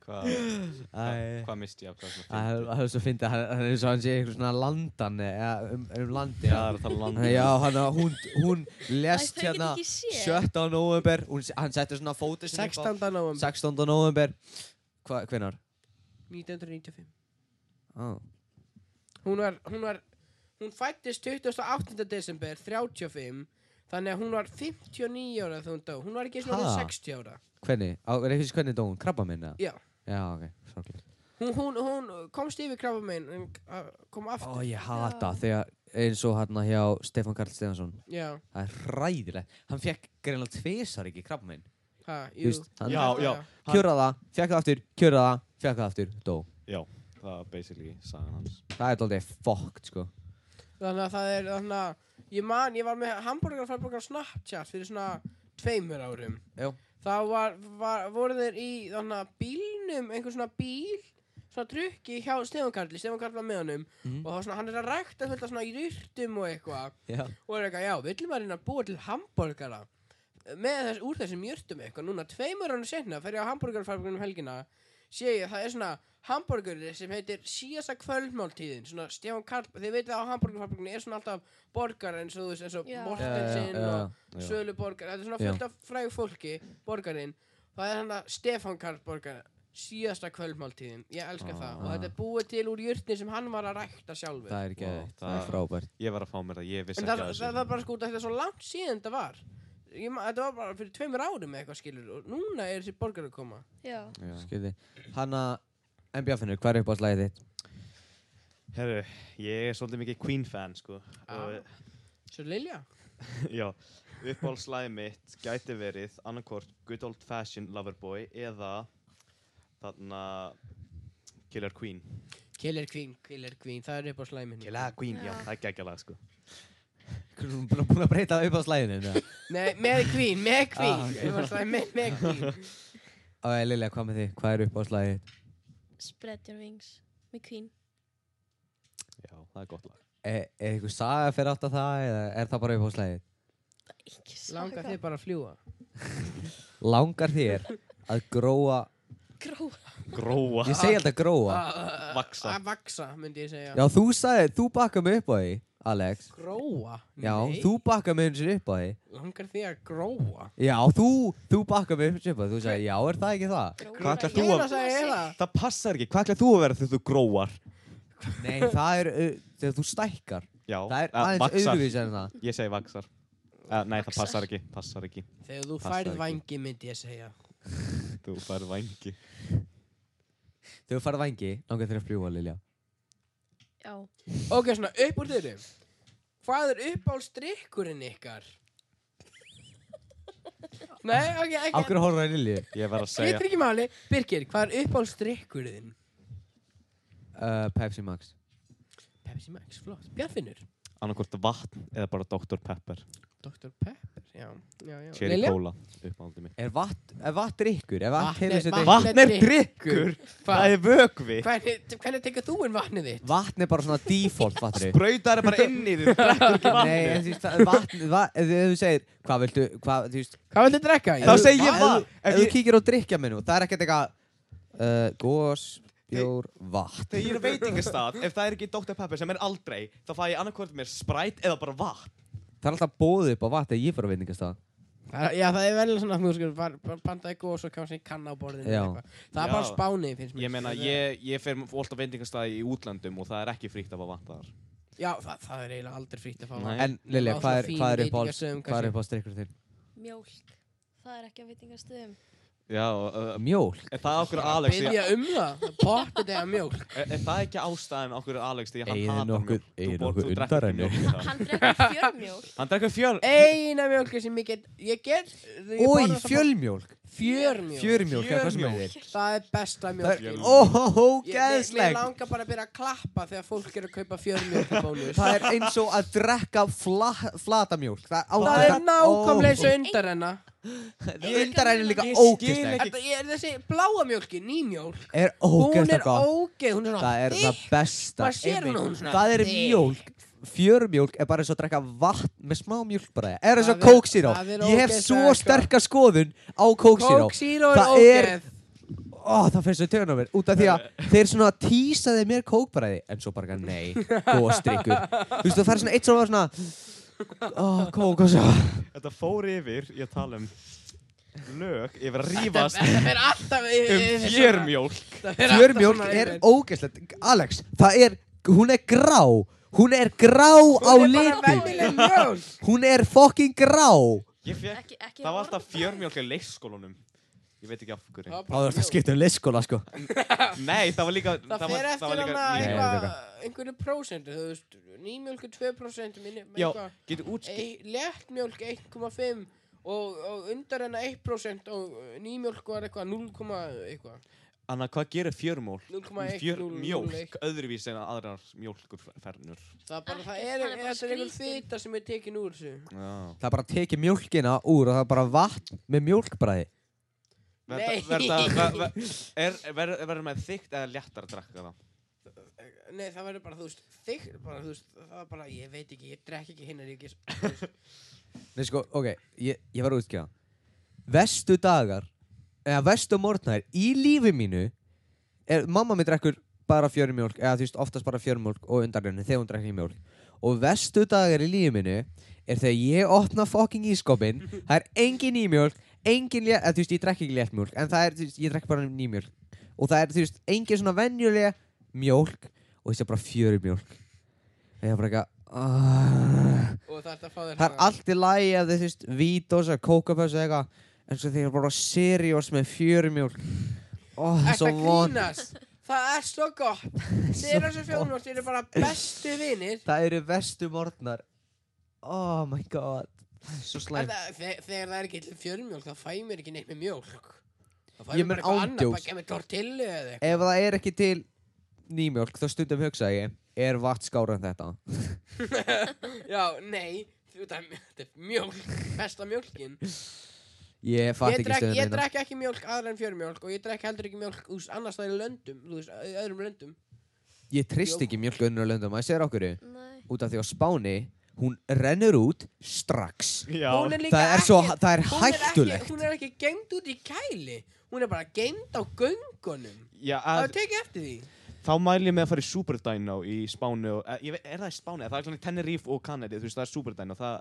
[SPEAKER 2] Hvað,
[SPEAKER 1] Æ.
[SPEAKER 2] hvað misti ég af hvað
[SPEAKER 1] Það er- það er svo fyndið, hann hann er eins og hann sé eitthvað svona landan eða um, um landi
[SPEAKER 2] Já, það er að tala um landið.
[SPEAKER 1] Já, hann, hún, hún lest
[SPEAKER 4] Æ, það
[SPEAKER 1] hérna
[SPEAKER 4] get ekki séð.
[SPEAKER 1] 17. november hún, s- hann setti svona fótið sinn upp á-
[SPEAKER 3] 16. november
[SPEAKER 1] 16. november Hva, hvenar?
[SPEAKER 3] 1995.
[SPEAKER 1] Ah.
[SPEAKER 3] Hún var, hún var, hún fættist 28. desember 35. Þannig að hún var 59 ára þegar hún dó. Hún var ekki svona
[SPEAKER 1] Ha?
[SPEAKER 3] 60 ára.
[SPEAKER 1] Hvernig? Á, er ekki hvernig dó hún? Krabba minna?
[SPEAKER 3] Já.
[SPEAKER 1] Já, ok, sorglega
[SPEAKER 3] Hún, hún, hún komst yfir krafa megin, kom aftur.
[SPEAKER 1] Ó, ég hata þegar eins og hérna hjá Stefán Karl Stefansson
[SPEAKER 3] Já,
[SPEAKER 1] Það er ræðilegt Hann fekk greinlega tvisar ekki krabba minn
[SPEAKER 3] ha, jú.
[SPEAKER 1] hann
[SPEAKER 2] Já, já, Hann-
[SPEAKER 1] kjöraða, fekk það aftur, kjöraða, fekk það aftur, dó
[SPEAKER 2] já, það var basically sagan hans.
[SPEAKER 1] Það er aldrei fokkt, sko
[SPEAKER 3] Þannig að það er, þannig að ég man, ég var með hambúrgar og framburgar á Snapchat fyrir svona tveimur árum.
[SPEAKER 1] Já.
[SPEAKER 3] Þá var, var, voru þeir í þannig að bílnum, einhver svona bíl, svona trukki hjá Stefán Karli, Stefán Karli var með honum
[SPEAKER 1] Mhm.
[SPEAKER 3] og þá svona, hann er að rækta fullt af svona í rýrtum og eitthvað
[SPEAKER 1] Já
[SPEAKER 3] og er eitthvað, já, villum að reyna að búa til hambúrgara með þess, úr þessum jörtum eitthvað, núna tveimur árum senna fer ég á hambúrgarfarburgunum helgina sé ég að það er svona hambúrgari sem heitir síðasta kvöldmáltíðin svona Stefán Karl, þið veitir að á hambúrgarfarburgunum er svona alltaf borgar eins og þú veist eins og
[SPEAKER 4] Já.
[SPEAKER 3] Mortensinn
[SPEAKER 1] Já, já, já.
[SPEAKER 3] og Sölu borgar, þetta er svona
[SPEAKER 1] Já.
[SPEAKER 3] fullt af fræg fólki borgarinn, það er hann að Stefán Karl borgar síðasta kvöldmáltíðin ég elska
[SPEAKER 2] Ah.
[SPEAKER 3] það og þetta er búið til úr jurtni sem hann var að rækta sjálfur
[SPEAKER 1] Það er ekki
[SPEAKER 2] Vá,
[SPEAKER 1] það er
[SPEAKER 2] það-
[SPEAKER 1] frábært
[SPEAKER 2] Ég var að fá mér það, ég vissi
[SPEAKER 3] en
[SPEAKER 2] ekki
[SPEAKER 3] það,
[SPEAKER 2] að
[SPEAKER 3] það,
[SPEAKER 2] þessu
[SPEAKER 3] það er bara sko út af því að þetta er svo langt síðan þetta var ég, ma- þetta var bara fyrir tveimur árum eða eitthvað skilur og núna er þessi borgar að koma
[SPEAKER 4] Já.
[SPEAKER 2] Já.
[SPEAKER 1] Skildi Hanna En Bjarfinnur, hvað er upp á slæðið þitt?
[SPEAKER 2] Herru, ég er svolítið mikið Queen fan sko
[SPEAKER 3] Ah.
[SPEAKER 2] og,
[SPEAKER 3] svo Lilja
[SPEAKER 2] Já, uppáhaldslagið mitt gæti verið annarkort Good Old Fashioned Loverboy eða þarna Killer Queen
[SPEAKER 3] Killer Queen, Killer Queen, það er upp á slæminu
[SPEAKER 2] Queen, já,
[SPEAKER 4] Já.
[SPEAKER 2] það er geggjalag sko
[SPEAKER 1] Hún er búin að breyta upp á slæðinu
[SPEAKER 3] Nei, með Queen, með Queen
[SPEAKER 1] Ah,
[SPEAKER 3] ah,
[SPEAKER 1] ok.
[SPEAKER 3] upp á slæminu, með Queen
[SPEAKER 1] Og Lilja, hvað með þig? Hvað er upp á slæðið þitt?
[SPEAKER 4] Spread your wings. Með Queen.
[SPEAKER 2] Já, það er gott lag
[SPEAKER 1] Er, er eitthvað saga fyrir átt að það eða er það bara upp á slæðið?
[SPEAKER 4] Ekki
[SPEAKER 3] langar
[SPEAKER 4] saga.
[SPEAKER 3] þið bara að fljúa
[SPEAKER 1] Langar þér að gróa
[SPEAKER 4] Gróa.
[SPEAKER 2] Gróa
[SPEAKER 1] Ég segi alltaf gróa
[SPEAKER 3] Ah,
[SPEAKER 2] Vaxa.
[SPEAKER 3] að vaksa, myndi ég segja
[SPEAKER 1] Já, þú sagði, þú bakka mig upp á því, Alex
[SPEAKER 3] gróa,
[SPEAKER 1] Já,
[SPEAKER 3] nei,
[SPEAKER 1] þú bakka mig eins og upp á því
[SPEAKER 3] langar þið að gróa
[SPEAKER 1] Já, þú, þú bakka mig eins og upp á því Þú sagði, já, er það ekki það?
[SPEAKER 4] Gróa.
[SPEAKER 2] Hvað ætlar
[SPEAKER 4] Ég
[SPEAKER 2] þú að-
[SPEAKER 4] er að segja það.
[SPEAKER 2] Ah, Það passar ekki, hvað ætlar þú að vera þegar þú gróar?
[SPEAKER 1] Nei, það er, uh, þegar þú stækkar
[SPEAKER 2] Já,
[SPEAKER 1] Það er
[SPEAKER 2] eh,
[SPEAKER 1] aðeins
[SPEAKER 2] vaxar.
[SPEAKER 1] öðruvísi en það
[SPEAKER 2] Ég segi vaxar uh, Nei, það
[SPEAKER 4] Vaxar.
[SPEAKER 2] passar ekki, passar ekki
[SPEAKER 3] Þegar þú
[SPEAKER 2] Passar
[SPEAKER 3] færð
[SPEAKER 2] ekki.
[SPEAKER 3] vangi myndi ég segja
[SPEAKER 2] Þú fær vængi
[SPEAKER 1] Þegar þú farið vangi, langar þér að fljúa, Lilja
[SPEAKER 4] Já.
[SPEAKER 3] Ok, svona upp úr þeirri Hvað er uppáhaldsdrykkurinn ykkar? Nei, ok,
[SPEAKER 1] Af
[SPEAKER 3] ekki
[SPEAKER 1] hverju horfður að Lilju?
[SPEAKER 2] Ég verð að segja
[SPEAKER 3] Skiptir ekki máli Birgir, hvað er uppáhaldsdrykkurinn?
[SPEAKER 1] Uh, Pepsi Max
[SPEAKER 3] Pepsi Max, flott Bjarfinnur
[SPEAKER 2] annarkort vatn eða bara Dr. Pepper
[SPEAKER 3] Dr. Pepper, já, já, já
[SPEAKER 2] Cherry
[SPEAKER 3] Lilja?
[SPEAKER 2] Cola, uppáhaldið mitt
[SPEAKER 1] Er vatn, er vatn drikkur? Er vatn
[SPEAKER 3] Vatn er-
[SPEAKER 1] heilur sér drikkur?
[SPEAKER 3] vatn-
[SPEAKER 2] Vatn er drikkur, það
[SPEAKER 3] Hvað?
[SPEAKER 2] er vökvi
[SPEAKER 3] Hvernig, hvernig tekur þú inn vatnið þitt?
[SPEAKER 1] Vatn er bara svona default vatnri
[SPEAKER 2] Brautar er bara inn í því, drekkur ekki
[SPEAKER 1] Nei, en þú veist, það- vatn, vatn, ef þú- ef þú segir, hvað viltu, hvað, þú veist
[SPEAKER 3] Hvað vil þið drekka?
[SPEAKER 2] Þá
[SPEAKER 3] Ég-
[SPEAKER 2] segi ég
[SPEAKER 1] Ef
[SPEAKER 2] vatn
[SPEAKER 1] þú- Ef
[SPEAKER 2] Ef
[SPEAKER 1] þú
[SPEAKER 2] ég-
[SPEAKER 1] kíkir á drikkjamenu, það er ekkert eitthvað uh, Gós, bjór, vatn
[SPEAKER 2] Þegar ég er á veitingastað, ef það er ekki Dr. Pepper sem er aldrei þá fæ ég annarkort mér Sprite eða bara vatn
[SPEAKER 1] Það er alltaf bóðið upp á vatn eða ég fyrir að veitingastað
[SPEAKER 3] Það- Já, það er vel svona að þú skur pantaði gós og kannski kanna á borðinu
[SPEAKER 1] Já.
[SPEAKER 3] eða eitthvað. Það er bara
[SPEAKER 2] Já.
[SPEAKER 3] spánið finnst mér
[SPEAKER 2] Ég meina, ég, ég fer alltaf veitingastaði í útlandum og það er ekki fríkt af að vatn þar
[SPEAKER 3] Já, það, það er eiginlega aldrei frítt að fá
[SPEAKER 2] Nei.
[SPEAKER 1] En Lilja,
[SPEAKER 3] Á
[SPEAKER 1] hvað
[SPEAKER 3] svona
[SPEAKER 1] er,
[SPEAKER 3] fín
[SPEAKER 1] hvað er upp á
[SPEAKER 3] veitingastöðum
[SPEAKER 1] Hvað er
[SPEAKER 3] kannski.
[SPEAKER 1] upp á strikkur þinn?
[SPEAKER 4] Mjólk. Það er ekki að veitingastöðum.
[SPEAKER 2] Já, uh,
[SPEAKER 1] Mjól
[SPEAKER 2] er það okkur
[SPEAKER 3] Að
[SPEAKER 2] Alex
[SPEAKER 3] Biðja um það, potið eða mjólk
[SPEAKER 2] Er, er það ekki ástæðan okkur Alex þegar hann
[SPEAKER 1] Eigið
[SPEAKER 2] hatar
[SPEAKER 1] nokkuð-
[SPEAKER 2] mjólk? Þú
[SPEAKER 1] eigið
[SPEAKER 2] borð-
[SPEAKER 1] nokkuð
[SPEAKER 2] þú drekkur ekki
[SPEAKER 1] undarrennu?
[SPEAKER 2] mjólk í það.
[SPEAKER 4] Hann drekkur fjörmjólk.
[SPEAKER 2] Hann drekkur fjöl
[SPEAKER 3] Eina mjólki sem ég get Ég get ég
[SPEAKER 1] Ói,
[SPEAKER 3] borða það
[SPEAKER 1] fjölmjólk
[SPEAKER 3] bara- Fjörmjólk
[SPEAKER 1] Fjörmjólk, er það sem
[SPEAKER 2] Fjörmjólk.
[SPEAKER 1] heitir
[SPEAKER 3] Það er besta mjólk
[SPEAKER 2] Fjörmjólk.
[SPEAKER 1] Ó,
[SPEAKER 3] Mér
[SPEAKER 1] gæðslegt
[SPEAKER 3] langar bara að byrja að klappa þegar fólk er að kaupa fjörmjólk í bónus
[SPEAKER 1] Það er eins og að drekka fla, flatamjólk Það er,
[SPEAKER 3] Það er nákvæmlega eins og undar hennar
[SPEAKER 1] Undar henni líka
[SPEAKER 2] Ég skil
[SPEAKER 1] ógæðslegt
[SPEAKER 2] ekki.
[SPEAKER 3] Þetta er þessi bláa mjólki, nýmjólk
[SPEAKER 1] Er
[SPEAKER 3] Hún
[SPEAKER 1] ógæðslega
[SPEAKER 3] er
[SPEAKER 1] gott
[SPEAKER 3] ógeð, hún er svona
[SPEAKER 1] Það er það
[SPEAKER 3] þykk.
[SPEAKER 1] besta
[SPEAKER 3] Maður sér
[SPEAKER 1] einmitt.
[SPEAKER 3] hún, hún svona
[SPEAKER 1] Það er
[SPEAKER 3] þykk.
[SPEAKER 1] mjólk Fjörmjólk er bara eins og að drekka vatn með smá mjólk bara Er eins og
[SPEAKER 3] Það er-
[SPEAKER 1] kóksíró
[SPEAKER 3] það er
[SPEAKER 1] Ég hef
[SPEAKER 3] ógeðslega
[SPEAKER 1] svo
[SPEAKER 3] gott.
[SPEAKER 1] sterka skoðun á kóksíró
[SPEAKER 3] Coke Zero er
[SPEAKER 1] Það er-
[SPEAKER 3] ógeð
[SPEAKER 1] Ó, það finnst þau töðan á mér Út af því að þeir svona tísaði mér kókbræði En svo bara nei, góðstrykkur Þú veist, þú færi svona eitt svona svona Ó, kók og svo
[SPEAKER 2] Þetta fór yfir, ég tala um lög, ég verð að rífast
[SPEAKER 3] Það er alltaf
[SPEAKER 2] um fjörmjólk
[SPEAKER 1] Fjörmjólk er ógeðslegt Alex, það er, hún er grá Hún er grá á litin
[SPEAKER 3] Vennileg mjólk
[SPEAKER 1] Hún er fucking grá
[SPEAKER 2] Ég fekk,
[SPEAKER 4] Ekki, ekki
[SPEAKER 2] það var
[SPEAKER 4] orð.
[SPEAKER 2] alltaf fjörmjólk í leikskólanum Ég veit ekki af
[SPEAKER 3] Það
[SPEAKER 2] hverju
[SPEAKER 3] var
[SPEAKER 1] Þá
[SPEAKER 3] bara
[SPEAKER 1] þarf það að skipta um leikskóla sko
[SPEAKER 2] Nei, það var líka
[SPEAKER 3] Það
[SPEAKER 2] var-
[SPEAKER 3] fer
[SPEAKER 2] var
[SPEAKER 3] eftir
[SPEAKER 2] líka-
[SPEAKER 3] hann
[SPEAKER 1] Nei,
[SPEAKER 2] Nei.
[SPEAKER 1] ég
[SPEAKER 3] að
[SPEAKER 1] veit
[SPEAKER 3] einhverju prósentu, þú veist, nýmjölk er 2% minni,
[SPEAKER 2] Já,
[SPEAKER 3] eitthvað,
[SPEAKER 2] getur útskýrt
[SPEAKER 3] ei- léttmjölk 1,5 og, og undar hennar 1% og uh, nýmjólk var eitthvað 0, eitthvað,
[SPEAKER 2] Anna, hvað gerir fjörmjólk?
[SPEAKER 3] 0,1,
[SPEAKER 2] Fjörmjólk,
[SPEAKER 3] 0,01.
[SPEAKER 2] öðruvís en aðrar mjólkurfernur
[SPEAKER 3] það er bara, það
[SPEAKER 4] Ekkert,
[SPEAKER 3] er,
[SPEAKER 4] hann er bara
[SPEAKER 3] þetta er einhver
[SPEAKER 4] skrýtinn.
[SPEAKER 3] fita sem er tekin úr þessu.
[SPEAKER 2] Já
[SPEAKER 1] Það er bara að teki mjólkina úr og það er bara vatn með mjólkbræði
[SPEAKER 3] Nei.
[SPEAKER 2] Verður maður þykkt eða léttar að drakka það?
[SPEAKER 3] Nei, það verður bara, þú veist, þig, bara, þú veist, það er bara, ég veit ekki, ég drekk ekki hinnar, ég gís,
[SPEAKER 1] Nei sko, ok, ég, ég var að útskjáða Vestu dagar eða vestu morgnar í lífi mínu er, mamma mér drekkur bara fjörmjólk eða þú veist oftast bara fjörmjólk og undarlunni þegar hún drekkur mjólk og vestu dagar í lífi mínu er þegar ég opna fucking ískopin það er engin nýmjólk engin, lé- eða þú veist ég drekk ekki léttmjólk en það er, þú veist, ég drekk bara nýmjólk og það er, þú veist, engin svona venjulega mjólk og þessi er bara fjöri mjólk og ég er bara eitthvað uh,
[SPEAKER 3] og það er að fá þér
[SPEAKER 1] það er allt í lagi ef þið, þú veist, vítós eða kókapöss eða eitthvað en svo þið er bara seriós með fjöri mjólk ó, það er
[SPEAKER 3] Þetta
[SPEAKER 1] svo von
[SPEAKER 3] grínast Það er svo gott Þeir þessu fjólmjólk eru bara bestu vinir
[SPEAKER 1] það eru vestu morgnar oh my god svo
[SPEAKER 3] En
[SPEAKER 1] slæm
[SPEAKER 3] það- þe- Þegar það er ekki til fjölmjólk þá fæ ég mér ekki neitt með mjólk Þá fæ
[SPEAKER 1] Ég meina
[SPEAKER 3] ég mér bara eitthvað annað
[SPEAKER 1] ándjós.
[SPEAKER 3] bara kemur tortillu eða eitthvað
[SPEAKER 1] ef það er ekki til nýmjólk þá stundum hugsa ég er vatn skára en þetta
[SPEAKER 3] Já, nei þú- Þetta er mj- þetta er mjólk, besta mjólkin
[SPEAKER 1] ég fatt
[SPEAKER 3] Ég
[SPEAKER 1] ekki
[SPEAKER 3] drekk,
[SPEAKER 1] stöðum
[SPEAKER 3] ég drekk ekki mjólk aðra en fjölmjólk og ég drekk heldur ekki mjólk úr annars það í löndum, þú veist, í öðrum löndum
[SPEAKER 1] ég trist ekki mjölk unnur löndum að segja okkur
[SPEAKER 4] Nei.
[SPEAKER 1] út af því að Spáni hún rennur út strax
[SPEAKER 2] Já,
[SPEAKER 3] Hún er líka
[SPEAKER 1] það er svo
[SPEAKER 3] ekki-
[SPEAKER 1] það er
[SPEAKER 3] hún
[SPEAKER 1] hættulegt
[SPEAKER 3] ekki, Hún er ekki gengd út í kæli Hún er bara gengd á göngunum
[SPEAKER 2] já
[SPEAKER 3] Það
[SPEAKER 2] að,
[SPEAKER 3] er tekið eftir því
[SPEAKER 2] þá mæl ég með að fara í Superdino í Spáni og, eh, ég veit, er það í Spáni? Það er svona í Tenerife og Kanadi, þú veist, það er Superdino, það,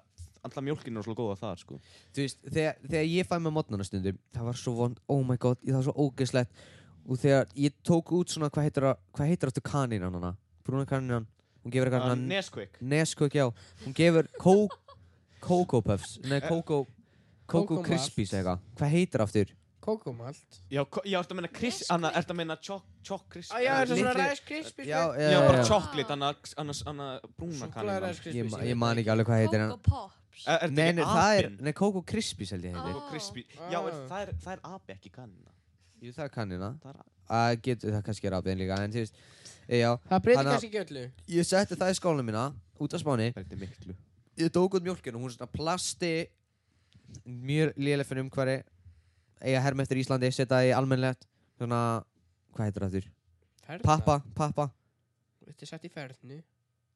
[SPEAKER 2] alltaf mjólkinu er svo góða það, sko.
[SPEAKER 1] þú veist, þegar, þegar ég fæ með mótnana stundum það var svo von, oh my god, það var svo ógeðslegt og þegar ég tók út svona hvað heitir, það- hvað heitir aftur kanínan hana brúna kanínan, hún gefur
[SPEAKER 2] Uh,
[SPEAKER 1] eitthvað hana
[SPEAKER 2] Nesquik.
[SPEAKER 1] Nesquik, já, hún gefur kó- Coco Puffs, nei Coco Coco
[SPEAKER 3] Coco
[SPEAKER 1] Krispies
[SPEAKER 3] Puffs.
[SPEAKER 1] eitthvað hvað heitir aftur?
[SPEAKER 3] Kókumalt
[SPEAKER 2] Já, ko- já, ertu að meina Chris,
[SPEAKER 4] Nesquik.
[SPEAKER 2] anna, ertu að meina Chok, Chok Chris?
[SPEAKER 3] Já, þetta er svona
[SPEAKER 1] Litli-
[SPEAKER 3] Rice Krispies
[SPEAKER 1] Já,
[SPEAKER 3] með-
[SPEAKER 1] já,
[SPEAKER 2] Já, bara
[SPEAKER 1] já.
[SPEAKER 2] chocolate, annars, annars, annars brúna
[SPEAKER 3] Súkkulaði
[SPEAKER 2] kaninu.
[SPEAKER 3] Rice
[SPEAKER 1] ég,
[SPEAKER 3] Krispies
[SPEAKER 1] ma- ég man ekki alveg hvað heitir hann
[SPEAKER 4] Coco Pops.
[SPEAKER 2] Er, er
[SPEAKER 1] nei, nei, það er,
[SPEAKER 2] apinn?
[SPEAKER 1] nei, Coco Krispies held ég heitir
[SPEAKER 4] Ah.
[SPEAKER 2] Coco Crispy. Já, er,
[SPEAKER 3] Ah.
[SPEAKER 2] það, er, það er api ekki kanina.
[SPEAKER 1] jú, það er kanina
[SPEAKER 2] Það er api.
[SPEAKER 1] að getur það kannski rapið líka en þú veist, já,
[SPEAKER 3] Það
[SPEAKER 1] Þannig
[SPEAKER 3] breytir
[SPEAKER 1] að-
[SPEAKER 3] kannski ekki öllu
[SPEAKER 1] ég setti það í skólanum mína út af spáni
[SPEAKER 2] Það er miklu.
[SPEAKER 1] ég tók út mjölkinu, hún er svona plasti mjög lélega fyrir umhverfi eiga herm eftir Íslandi, setja það í almennlegt svona, hvað heitir það þurr?
[SPEAKER 3] Ferna.
[SPEAKER 1] Pappa, pappa,
[SPEAKER 3] Þetta er sett í fernu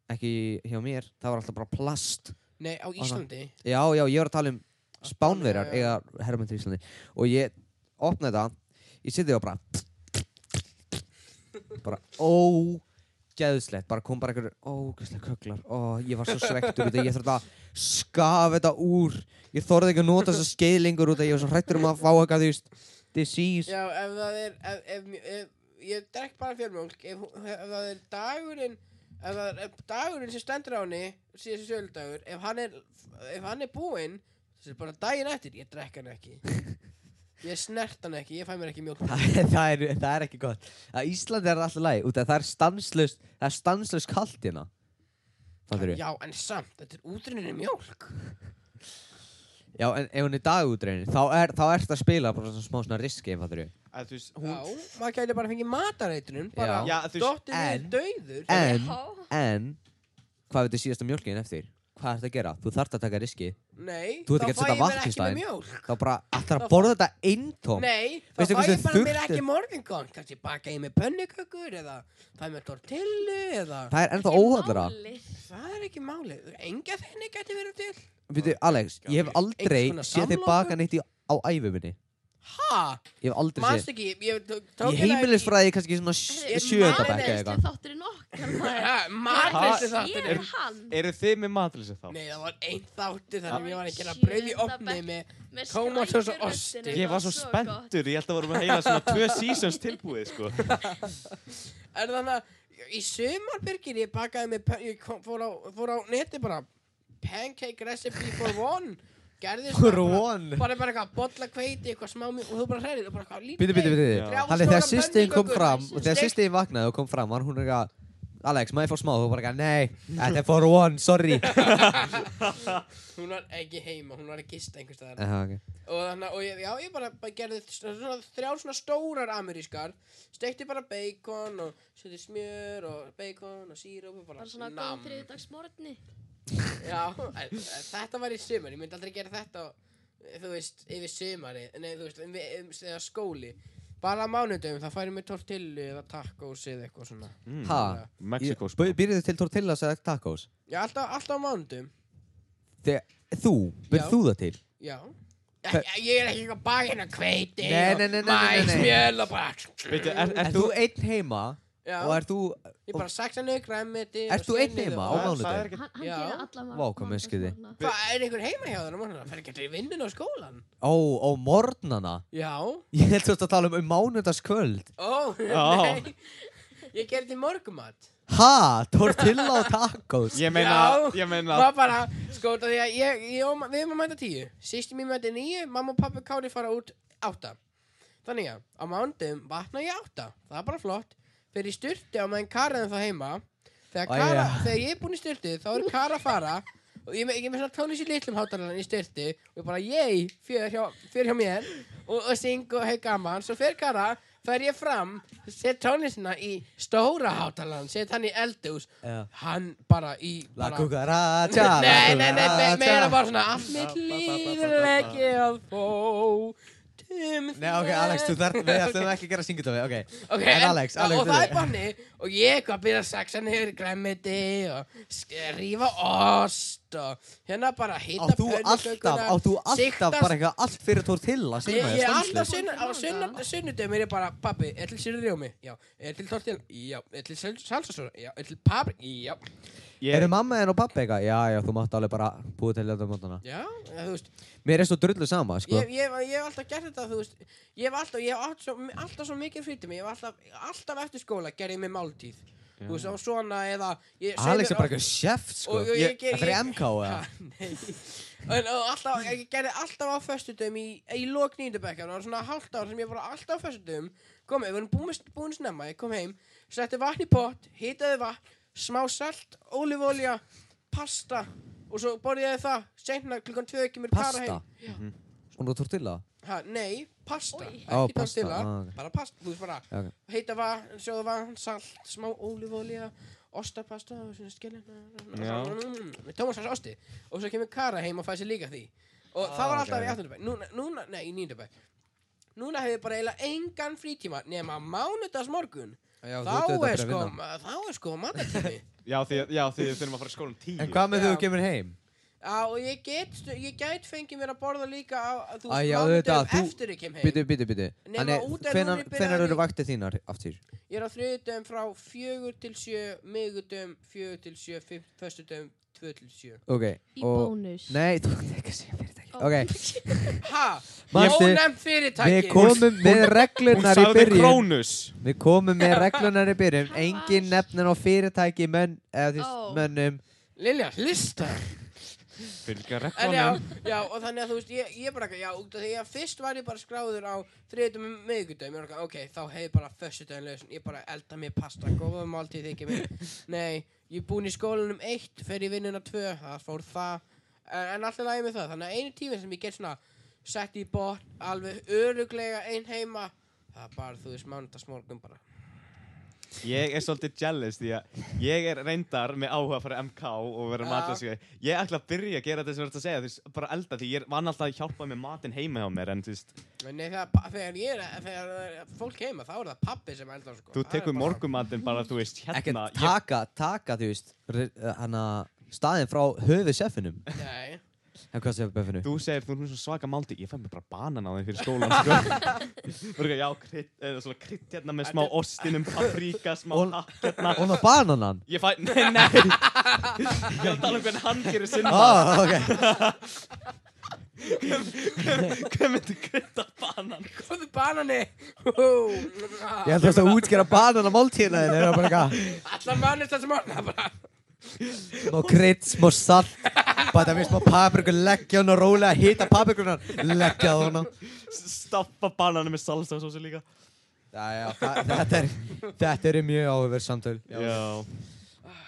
[SPEAKER 1] ekki hjá mér það var alltaf bara plast
[SPEAKER 3] Nei, á Íslandi
[SPEAKER 1] já, já, ég var að tala um spánverjar eiga herm eftir Íslandi og ég opnaði það ég seti það og bara bara ógeðslegt bara kom bara einhverjur ógeðslega köklar og ég var svo svektur út að ég þurfti að skafa þetta úr ég þorði ekki að nota þessa skeið lengur út að ég var svo hrættur um að fá eitthvað þú veist disease
[SPEAKER 3] Já, ef það er ef, ef, ef, Ég drekk bara fjölmjólk ef, hún- ef það er dagurinn Ef það er ef dagurinn sem stendur á henni Síðan söludagur Ef hann er, ef hann er búinn Þessi er bara daginn eftir Ég drekk hann ekki Ég snert hann ekki Ég fæ mér ekki mjólk
[SPEAKER 1] það, er- það, er, það er ekki gott að Íslandi er það alltaf læg út að það er stanslust það er stanslust kalt hérna Fattirðu?
[SPEAKER 3] Já, en samt Þetta er útrinninni mjólk
[SPEAKER 1] Já, en ef hún er dagútreinin, þá er þá ert að spila bara svona smá svona riski, fattur við.
[SPEAKER 2] Að, þú veist,
[SPEAKER 3] Já,
[SPEAKER 2] hún,
[SPEAKER 3] maður gæti bara fengið matareitrun bara
[SPEAKER 1] Já.
[SPEAKER 2] Já, þú veist,
[SPEAKER 3] dottir niður
[SPEAKER 1] en-
[SPEAKER 3] dauður
[SPEAKER 1] En,
[SPEAKER 4] Já.
[SPEAKER 1] en, hvað veitir síðasta mjölkin eftir? Hvað ert að gera? Þú þart að taka riski.
[SPEAKER 3] Nei,
[SPEAKER 1] Þú ert
[SPEAKER 3] þá
[SPEAKER 1] ekki að
[SPEAKER 3] fæ
[SPEAKER 1] setja
[SPEAKER 3] ég mér
[SPEAKER 1] vatn í
[SPEAKER 3] ekki
[SPEAKER 1] staðinn.
[SPEAKER 3] með mjólk
[SPEAKER 1] Þá bara, ætlar
[SPEAKER 3] Þá
[SPEAKER 1] að
[SPEAKER 3] fá-
[SPEAKER 1] borða þetta eintóm.
[SPEAKER 3] Nei, þá
[SPEAKER 1] Veistu
[SPEAKER 3] fæ
[SPEAKER 1] hversu
[SPEAKER 3] ég bara mér
[SPEAKER 1] þurrt
[SPEAKER 3] ekki
[SPEAKER 1] er?
[SPEAKER 3] morgungong Kanski baka ég með pönnukökur eða fæ mér tortillu eða
[SPEAKER 1] Það er ennþá
[SPEAKER 4] Ekki
[SPEAKER 1] óhaldara.
[SPEAKER 4] máli.
[SPEAKER 3] Það er ekki málið, engja þenni gæti verið til
[SPEAKER 1] Býtu, Alex, ég hef aldrei
[SPEAKER 3] Einhvers konar
[SPEAKER 1] séð þig
[SPEAKER 3] samloku?
[SPEAKER 1] baka neitt í, á æfuminni.
[SPEAKER 3] Ha,
[SPEAKER 1] Ég hef aldrei séð.
[SPEAKER 3] manstu ekki, ég tók hérna
[SPEAKER 1] Í heimilisfræði kannski svona sj-
[SPEAKER 4] Heyrðu,
[SPEAKER 1] sjöunda bekk eða
[SPEAKER 4] matreiðslu
[SPEAKER 1] eitthvað.
[SPEAKER 4] þátturinn okkar maður.
[SPEAKER 3] Margristi
[SPEAKER 4] Hvað
[SPEAKER 3] þáttir
[SPEAKER 4] er hann
[SPEAKER 2] eru þið með matlýsi þá?
[SPEAKER 3] Nei, það var einn þáttir þar sem ég var ekki að
[SPEAKER 4] Í
[SPEAKER 3] brauð í
[SPEAKER 4] sjöunda
[SPEAKER 3] opni
[SPEAKER 4] bekk.
[SPEAKER 3] með
[SPEAKER 4] með
[SPEAKER 3] Tómatsós og
[SPEAKER 4] skrækjuröddinni,
[SPEAKER 3] osti.
[SPEAKER 4] það
[SPEAKER 2] Ég var svo
[SPEAKER 4] gott.
[SPEAKER 2] spenntur, ég held að vorum að heila svona tvö seasons tilbúið, sko.
[SPEAKER 3] Er þannig að í sumarbyrgir ég bakaði með, pö- ég kom, fór, á, fór á neti bara pancake recipe for one gerðist
[SPEAKER 1] For
[SPEAKER 3] bara-
[SPEAKER 1] one?
[SPEAKER 3] bara bara eitthvað bolla kveiti eitthvað smá mjög og þú bara hræðir og bara eitthvað lítið
[SPEAKER 1] Býtu, býtu, býtu.
[SPEAKER 2] Já.
[SPEAKER 1] býtu. Þannig þegar sýstin kom fram, og þegar
[SPEAKER 3] Steik-
[SPEAKER 1] sýstin vaknaði og kom fram, var hún eitthvað, Alex, maður fór smá, þú bara eitthvað, nei, þetta er for one, sorry.
[SPEAKER 3] hún var ekki heima hún var að gista einhvers staðar
[SPEAKER 1] Já, ok.
[SPEAKER 3] og þannig að- og ég, já ég bara, bara gerði svona, svona, þrjár svona stórar amerískar steikti bara bacon og seti smjör og bacon og síróp og bara
[SPEAKER 4] Bara svona góð
[SPEAKER 3] nam.
[SPEAKER 4] þriðdags morgni.
[SPEAKER 3] Já, en, en þetta var í sumar, ég myndi aldrei gera þetta, eh, þú veist, yfir sumari, nei, þú veist, um, um, eða skóli. Bara á mánudöfum, það færi mig tortillu eða tacos eða eitthvað svona.
[SPEAKER 1] Ha?
[SPEAKER 2] Mexiko, Hmm. sko.
[SPEAKER 1] Byrjuðu til tortillas eða tacos?
[SPEAKER 3] Já, alltaf, alltaf á mánudöfum,
[SPEAKER 1] Þegar, þú, byrjuð
[SPEAKER 3] Já.
[SPEAKER 1] þú það til?
[SPEAKER 3] já. Ég, ég er ekki eitthvað bakinn að kveiti
[SPEAKER 1] Nei,
[SPEAKER 3] og
[SPEAKER 1] nei, nei, nei, nei, nei.
[SPEAKER 3] mæsmjöl og bara...
[SPEAKER 2] Veitu, er, er,
[SPEAKER 1] Er
[SPEAKER 2] þú,
[SPEAKER 1] þú einn heima
[SPEAKER 3] Já,
[SPEAKER 1] Og er þú
[SPEAKER 3] ég bara saksa niður græmmiti
[SPEAKER 1] Ert þú einn heima á
[SPEAKER 2] Það- það
[SPEAKER 1] mánudaginn?
[SPEAKER 2] er ekki-
[SPEAKER 4] Hann, hann
[SPEAKER 3] Já.
[SPEAKER 4] gerir alla
[SPEAKER 1] Vá, hvað mennskið þið.
[SPEAKER 4] morgna.
[SPEAKER 3] Hvað, er einhver heima hjá þér á morgunum? Fer ekki allir í vinnun á skólan?
[SPEAKER 1] Ó, á morgnana
[SPEAKER 3] Já
[SPEAKER 1] Ég held þú ert að tala um, um mánudagskvöld
[SPEAKER 3] Ó,
[SPEAKER 2] Já.
[SPEAKER 3] nei Ég gerði til morgumat
[SPEAKER 1] Ha, tortilla og tacos
[SPEAKER 2] Ég meina,
[SPEAKER 3] Já.
[SPEAKER 2] ég meina
[SPEAKER 3] Var bara, sko, það því að ég, ég og, ma- við erum að mæta tíu Sýsti mín mæti níu, mamma og pappi og Kári fara út átta Þannig að á mándum vakna ég átta Það er bara flott Fyrir í styrti á meðan Kara er þá heima
[SPEAKER 1] Æ,
[SPEAKER 3] Þegar, Kara,
[SPEAKER 1] já.
[SPEAKER 3] þegar ég er búin í styrti þá er Kara að fara Og ég, me- ég er með svona tónlist í litlum hátalarn í styrti Og ég bara, yey, fyrir hjá, fjör hjá mér Og, og syng og hei gaman Svo fyrir Kara fer ég fram Set tónlistina í stóra hátalarn Set hann í eldhús
[SPEAKER 1] Já.
[SPEAKER 3] Hann bara í
[SPEAKER 1] La
[SPEAKER 3] bara,
[SPEAKER 1] cucaracha la
[SPEAKER 3] Nei, nei, nei,
[SPEAKER 1] cucaracha.
[SPEAKER 3] me- meira bara svona Allt
[SPEAKER 2] Ba, ba,
[SPEAKER 3] mitt
[SPEAKER 2] ba, ba, ba,
[SPEAKER 3] líf
[SPEAKER 2] ba,
[SPEAKER 3] er
[SPEAKER 2] ba.
[SPEAKER 3] ekki að fó Tim
[SPEAKER 1] Nei, ok, Alex, þú þarf, við ætlum ekki að gera syngjöndöfi, ok.
[SPEAKER 3] Ok,
[SPEAKER 1] en Alex, Alex,
[SPEAKER 3] Og
[SPEAKER 1] þú-
[SPEAKER 3] það er banni Og ég eitthvað að byrja að saxa niður græmiti Og sk- rífa ost Og hérna bara hita
[SPEAKER 1] Átt þú alltaf, átt þú alltaf bara eitthvað allt fyrir tortilla,
[SPEAKER 3] Ég,
[SPEAKER 1] segir maður,
[SPEAKER 3] ég er alltaf
[SPEAKER 1] stanslust.
[SPEAKER 4] sunn-
[SPEAKER 3] sunn- á sunn- sunnudöfum er ég bara Pappi, er til sérri rjómi? Já Er til tortil? Já Er til salsasóra? Já Er til papri? Já
[SPEAKER 2] ég,
[SPEAKER 1] Eru mamma þinn og pappa eitthvað? Já, já, þú mátt alveg bara búið til þetta mótana.
[SPEAKER 3] Já, þú veist
[SPEAKER 1] Mér er svo drullu sama, sko.
[SPEAKER 3] ég, ég, ég hef alltaf gert þetta, þú veist Ég hef alltaf, ég hef alltaf svo, alltaf svo mikið fyrir mig Ég hef alltaf, alltaf eftir skóla gerði ég mig máltíð Þú veist, á svona eða ég,
[SPEAKER 1] Alex er bara
[SPEAKER 3] og,
[SPEAKER 1] eitthvað chef, sko.
[SPEAKER 3] og- og ég- ég-
[SPEAKER 1] Þetta er
[SPEAKER 3] ég-
[SPEAKER 1] MK, eða?
[SPEAKER 3] og, og alltaf, ég gerði alltaf á föstudum í, í lok nýndabækja Það var svona hálft ár sem ég var alltaf á föstudum Kom, við vorum búin, búin snemma, ég kom heim Setti vatn í pott, hitaði vatn Smá salt, ólífólja, pasta Og svo borðið ég það, seinna klukkan tvö ekki mér kara
[SPEAKER 1] Pasta.
[SPEAKER 3] heim
[SPEAKER 1] Og nú tortilla.
[SPEAKER 3] Ha, nei, pasta,
[SPEAKER 4] Oj.
[SPEAKER 3] ekki
[SPEAKER 1] Ó,
[SPEAKER 3] pasta,
[SPEAKER 1] pasta,
[SPEAKER 3] tortilla,
[SPEAKER 1] ah, ok.
[SPEAKER 3] bara pasta, þú veist bara
[SPEAKER 1] Já, ok.
[SPEAKER 3] heita vatn, sjóða vatn, salt, smá ólífólja, ostapasta og svona skellina,
[SPEAKER 2] Já.
[SPEAKER 3] með tómasars osti og svo kemur Kara heim og fæði sér líka því og það var alltaf
[SPEAKER 1] Ah, ok.
[SPEAKER 3] í áttundabæk, núna, núna, nei, í nýndabæk, núna hef ég bara eiginlega engan frítíma nema mánudags morgun,
[SPEAKER 1] Já, þú ert
[SPEAKER 3] þá,
[SPEAKER 1] auðvitað
[SPEAKER 3] er
[SPEAKER 1] bara að
[SPEAKER 3] sko,
[SPEAKER 1] vinna.
[SPEAKER 3] þá er sko matatími.
[SPEAKER 2] já, því, já, því við þurfum að fara í skólan tíu
[SPEAKER 1] En hvað með
[SPEAKER 3] Já.
[SPEAKER 1] þegar þú kemur heim?
[SPEAKER 3] Já, og ég get, stu- ég get fengið mér að borða líka á, þú
[SPEAKER 1] Æ,
[SPEAKER 3] veist,
[SPEAKER 1] já, auðvitað,
[SPEAKER 3] mánudagum
[SPEAKER 1] þú-
[SPEAKER 3] eftir ég kem heim.
[SPEAKER 1] Bitu, bitu, bitu.
[SPEAKER 3] Nema
[SPEAKER 1] Þannig,
[SPEAKER 3] út er
[SPEAKER 1] hvenar-
[SPEAKER 3] núna í
[SPEAKER 1] hvenar
[SPEAKER 3] byrjaði-
[SPEAKER 1] eru vaktið þínar aftur?
[SPEAKER 3] Ég er á þriðutum frá fjögur til sjö, miðutum, fjögur til sjö, föstutum, tvö til sjö.
[SPEAKER 1] Ok.
[SPEAKER 4] Í
[SPEAKER 1] og-
[SPEAKER 4] bónus.
[SPEAKER 1] Nei, þú ætti ekki að segja fyrirtæki.
[SPEAKER 4] Ó.
[SPEAKER 1] Ok,
[SPEAKER 3] Ha?
[SPEAKER 1] Manstu,
[SPEAKER 3] Ónefn fyrirtæki.
[SPEAKER 1] við komum með
[SPEAKER 2] Hún
[SPEAKER 1] reglurnar í
[SPEAKER 2] sagði
[SPEAKER 1] byrjun.
[SPEAKER 2] krónus
[SPEAKER 1] Við komum með reglunar í byrjun,
[SPEAKER 4] Hann
[SPEAKER 1] engin
[SPEAKER 4] var-
[SPEAKER 1] nefnin á fyrirtæki menn, eða því
[SPEAKER 4] Ó.
[SPEAKER 1] mönnum.
[SPEAKER 3] Lilja, hlusta.
[SPEAKER 2] Fylgja
[SPEAKER 3] En já,
[SPEAKER 2] reglunum
[SPEAKER 3] já, og þannig að þú veist, ég, ég bara, já, út af því að fyrst var ég bara skráður á þriðutum og miðutum. Ég var ekki, ok, þá hef ég bara föstudaginn lausin. Ég bara elda mér pasta, góða máltíð þykir mér. Nei, ég er búinn í skólanum eitt, fer í vinnuna tvö, það fór það. En, en alltaf lagi með það. Þannig að einu tími sem ég get svona sett í bort, alveg öruglega einn heima, það er bara, þú veist, mánudagsmorgun bara.
[SPEAKER 2] Ég er svolítið jealous því að ég er reyndar með áhuga að fara í MK og vera
[SPEAKER 3] Já.
[SPEAKER 2] matlaskei Ég ætla að byrja að gera þetta sem þú ert að segja þú veist, bara elda því ég vann alltaf að hjálpa með matinn heima hjá mér en þú veist,
[SPEAKER 3] En Nei, þegar, ba- þegar ég er, þegar það er fólk heima, þá er það pappi sem eldar sko.
[SPEAKER 2] þú
[SPEAKER 3] Það er
[SPEAKER 2] tekur
[SPEAKER 3] bara-
[SPEAKER 2] morgumatinn bara þú veist
[SPEAKER 1] Ekki
[SPEAKER 2] hérna ég,
[SPEAKER 1] taka, taka, þú veist, eh, hana, staðin frá höfuð sefinum.
[SPEAKER 3] Nei,
[SPEAKER 1] En hvað segir Beffinu?
[SPEAKER 2] Þú segir þú erum svona svaka málti Ég fæ mér bara banan á þeim fyrir skólan sko. Bara eitthvað, Já, krydd, eða svona krydd hérna með smá
[SPEAKER 3] Þetta-
[SPEAKER 2] ostinum, paprika, smá
[SPEAKER 1] Og-
[SPEAKER 2] hakk hérna
[SPEAKER 1] Og ná bananan.
[SPEAKER 2] Ég fæ, nei, nei Ég var að tala um hvernig hann gerir
[SPEAKER 1] Ó,
[SPEAKER 2] sinn mat.
[SPEAKER 1] Ah, ok.
[SPEAKER 2] Hver myndi krydda banan?
[SPEAKER 3] komðu banani
[SPEAKER 1] Ég held þess að útskjara banan á máltíðina þeirra, bara eitthvað.
[SPEAKER 3] Allar mannir þess morgna bara
[SPEAKER 1] Smá krydd, smá salt, bæta við smá paprikur, leggja hún og rólega, hita paprikunar, leggja hún á.
[SPEAKER 2] Staffa bananum með salsa og svo líka
[SPEAKER 1] Jæja, þa- þetta er, þetta er mjög áhugaverð samtöl.
[SPEAKER 2] Já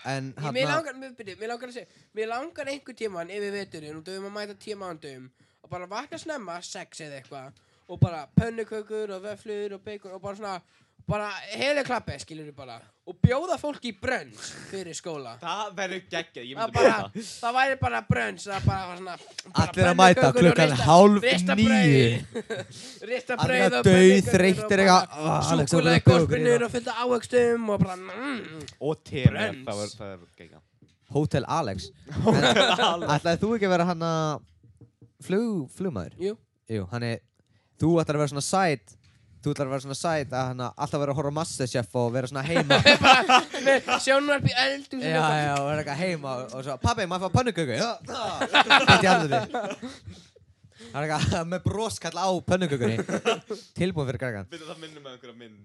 [SPEAKER 1] En hérna-
[SPEAKER 3] Ég- Mér
[SPEAKER 1] hann,
[SPEAKER 3] langar, mér, byrju, mér langar að segja Mér langar einhver tíman yfir veturinn og döfum að mæta tíu mánudum og bara vakna snemma, sex eða eitthvað og bara pönnukökur og vöflur og beikur og bara svona bara heilu klappi skilur við bara og bjóða fólki í brönns fyrir skóla
[SPEAKER 2] Það verður geggjað, ég
[SPEAKER 3] það,
[SPEAKER 2] myndi
[SPEAKER 3] bara,
[SPEAKER 2] bara
[SPEAKER 3] það væri bara brönns það bara var svona bara
[SPEAKER 1] Allir að mæta
[SPEAKER 3] pönnukökur og
[SPEAKER 1] klukkan
[SPEAKER 3] rista-
[SPEAKER 1] hálf
[SPEAKER 3] rista
[SPEAKER 1] níu.
[SPEAKER 3] brauð. Rista
[SPEAKER 1] Allir
[SPEAKER 3] brauð
[SPEAKER 1] að
[SPEAKER 3] og
[SPEAKER 1] dauð
[SPEAKER 3] pönnukökur
[SPEAKER 1] þreyttir
[SPEAKER 3] og bara
[SPEAKER 1] eitthvað
[SPEAKER 3] Súkulega góðspinnur og fullt af ávöxtum og bara mm,
[SPEAKER 2] Og te með,
[SPEAKER 3] Brens.
[SPEAKER 2] það verður- það verður geggjað
[SPEAKER 1] Hotel Alex Ætlaði þú ekki að vera hann að flug, flugmaður?
[SPEAKER 3] Jú,
[SPEAKER 1] Jú, hann er Þú ætlar að vera svona side Þú ætlar að vera svona sæt að hana, alltaf vera að horfa á Masterchef og vera svona heima
[SPEAKER 3] með sjónvarp í eldu
[SPEAKER 1] Já, já, og vera eitthvað heima og, og svo Pabbi, maður fá pönnuköku Já, það Þetta er alveg Það er eitthvað með broskall á pönnukökunni Tilbúin fyrir krakkan
[SPEAKER 2] Við það minnum með einhverja mynd.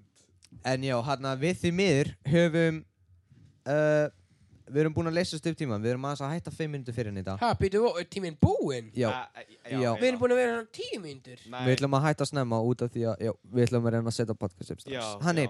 [SPEAKER 1] En já, hérna við því miður höfum uh, Við erum búin að leysa upp tíma Við erum aðeins að hætta 5 minnútur fyrir henni í dag
[SPEAKER 3] Ha, býtu, ó, er tíminn búinn?
[SPEAKER 1] Já,
[SPEAKER 2] Æ, æ,
[SPEAKER 1] Já.
[SPEAKER 3] Við erum búin að vera svona tíu myndur
[SPEAKER 2] Nei.
[SPEAKER 1] við ætlum að hætta snemma út af því að já, Við ætlum að reyna að setja podcast upp
[SPEAKER 2] Já,
[SPEAKER 1] strax Hanni,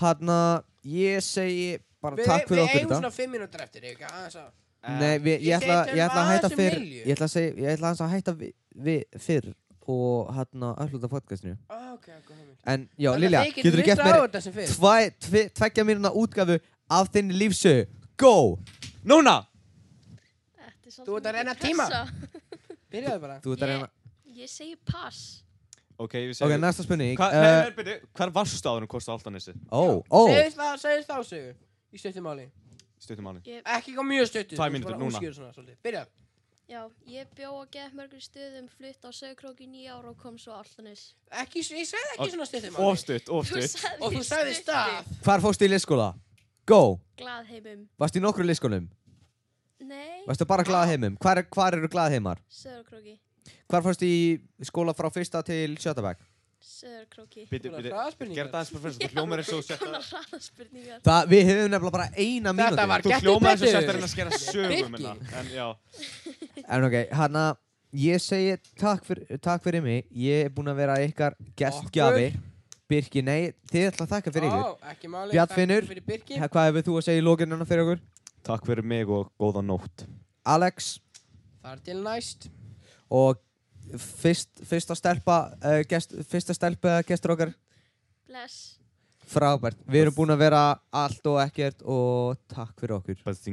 [SPEAKER 1] hérna Ég segi bara
[SPEAKER 3] Við,
[SPEAKER 1] takk
[SPEAKER 3] við
[SPEAKER 1] fyrir okkur
[SPEAKER 3] eigum
[SPEAKER 1] í dag
[SPEAKER 3] svona fimm mínútur eftir, eitthvað aðeins að
[SPEAKER 2] já.
[SPEAKER 1] Nei,
[SPEAKER 2] Eh,
[SPEAKER 1] við, ég,
[SPEAKER 3] Ég
[SPEAKER 1] ætla,
[SPEAKER 3] segi
[SPEAKER 1] ég ætla að
[SPEAKER 3] tölum
[SPEAKER 1] hætta
[SPEAKER 3] aðeins um
[SPEAKER 1] fyrr
[SPEAKER 3] Lilju.
[SPEAKER 1] Ég ætla að, segja, ég ætla aðeins að hætta við, við fyrr og hérna upplota podcastinu
[SPEAKER 3] Ah, Ok, ok, ok
[SPEAKER 1] En já, Lilja, getur þú gett
[SPEAKER 3] Þannig að þið getið hlustað á
[SPEAKER 1] mér
[SPEAKER 3] þetta sem fyrst
[SPEAKER 1] tvæ, tve, tveggja mínuna útgafu af þinni lífsögu Go! Núna!
[SPEAKER 4] Þetta er
[SPEAKER 3] Þú ert að
[SPEAKER 4] mikil
[SPEAKER 3] reyna að tíma.
[SPEAKER 4] pressa.
[SPEAKER 3] Byrjaðu bara
[SPEAKER 1] Þú ert að
[SPEAKER 4] Ég-
[SPEAKER 1] reyna
[SPEAKER 4] Ég segi pass.
[SPEAKER 2] Ok, við
[SPEAKER 1] Ok,
[SPEAKER 2] segjum.
[SPEAKER 1] næsta spurning
[SPEAKER 2] Hva, nei,
[SPEAKER 1] Eh,
[SPEAKER 2] nei, byrju, hvar varstu áður en kostu Altanessi?
[SPEAKER 1] Ó, ó
[SPEAKER 3] Segðist það, segðist það ásögu Í stuttum máli
[SPEAKER 2] Stuttum áli.
[SPEAKER 3] Ekki kom mjög stuttu
[SPEAKER 2] Tvær mínútur núna.
[SPEAKER 3] Byrja
[SPEAKER 4] Já, ég bjó á gett mörgum stöðum, flutt á sögkrók í nýja ára og kom svo alltanis.
[SPEAKER 3] Ekki, ég segði
[SPEAKER 2] Ok,
[SPEAKER 3] ekki svona stuttum máli
[SPEAKER 2] Ofstutt, ofstutt.
[SPEAKER 3] Og þú sagði stað
[SPEAKER 1] Hvar fórstu í leyskóla? Go!
[SPEAKER 4] Glaðheimum.
[SPEAKER 1] Varstu í nokkru leyskólum?
[SPEAKER 4] Nei,
[SPEAKER 1] Varstu bara glaðheimum? Hvar, hvar eru glaðheimar?
[SPEAKER 4] sögkróki.
[SPEAKER 1] Hvar fórstu í skóla frá fyrsta til sjötabæk?
[SPEAKER 4] Sögkróki.
[SPEAKER 2] Byrju,
[SPEAKER 3] Svona
[SPEAKER 2] byrju,
[SPEAKER 3] hraðaspurningar.
[SPEAKER 2] gerð það eins fyrir fyrst. Þú hljómar eins og sérst
[SPEAKER 4] Svona hraðaspurningar.
[SPEAKER 1] Það, við hefum nefnilega bara eina mínútu
[SPEAKER 3] Þetta var
[SPEAKER 2] Þú
[SPEAKER 3] Gettu
[SPEAKER 2] hljómar eins og
[SPEAKER 3] betur.
[SPEAKER 2] sérst að reyna að skera sögum
[SPEAKER 3] Birki.
[SPEAKER 2] minna. En já,
[SPEAKER 1] En ok, hérna, ég segi takk, fyr, takk fyrir mig. Ég er búinn að vera ykkar gestgjafi. Birki, nei, þið ætla að þakka fyrir ykkur.
[SPEAKER 3] Ó, Ekki máli
[SPEAKER 1] Bjarnfinnur.
[SPEAKER 3] takk fyrir Birki.
[SPEAKER 1] Ha, Hvað hefur þú að segja í lókinuna fyrir okkur?
[SPEAKER 2] takk fyrir mig og góða nótt.
[SPEAKER 1] Alex
[SPEAKER 3] Þar til næst
[SPEAKER 1] og fyrst, fyrsta stelpa, uh, gest, fyrsta stelpa gestur okkar,
[SPEAKER 4] Bless.
[SPEAKER 1] frábært. Við erum búin að vera allt og ekkert og takk fyrir okkur.
[SPEAKER 2] Bæðið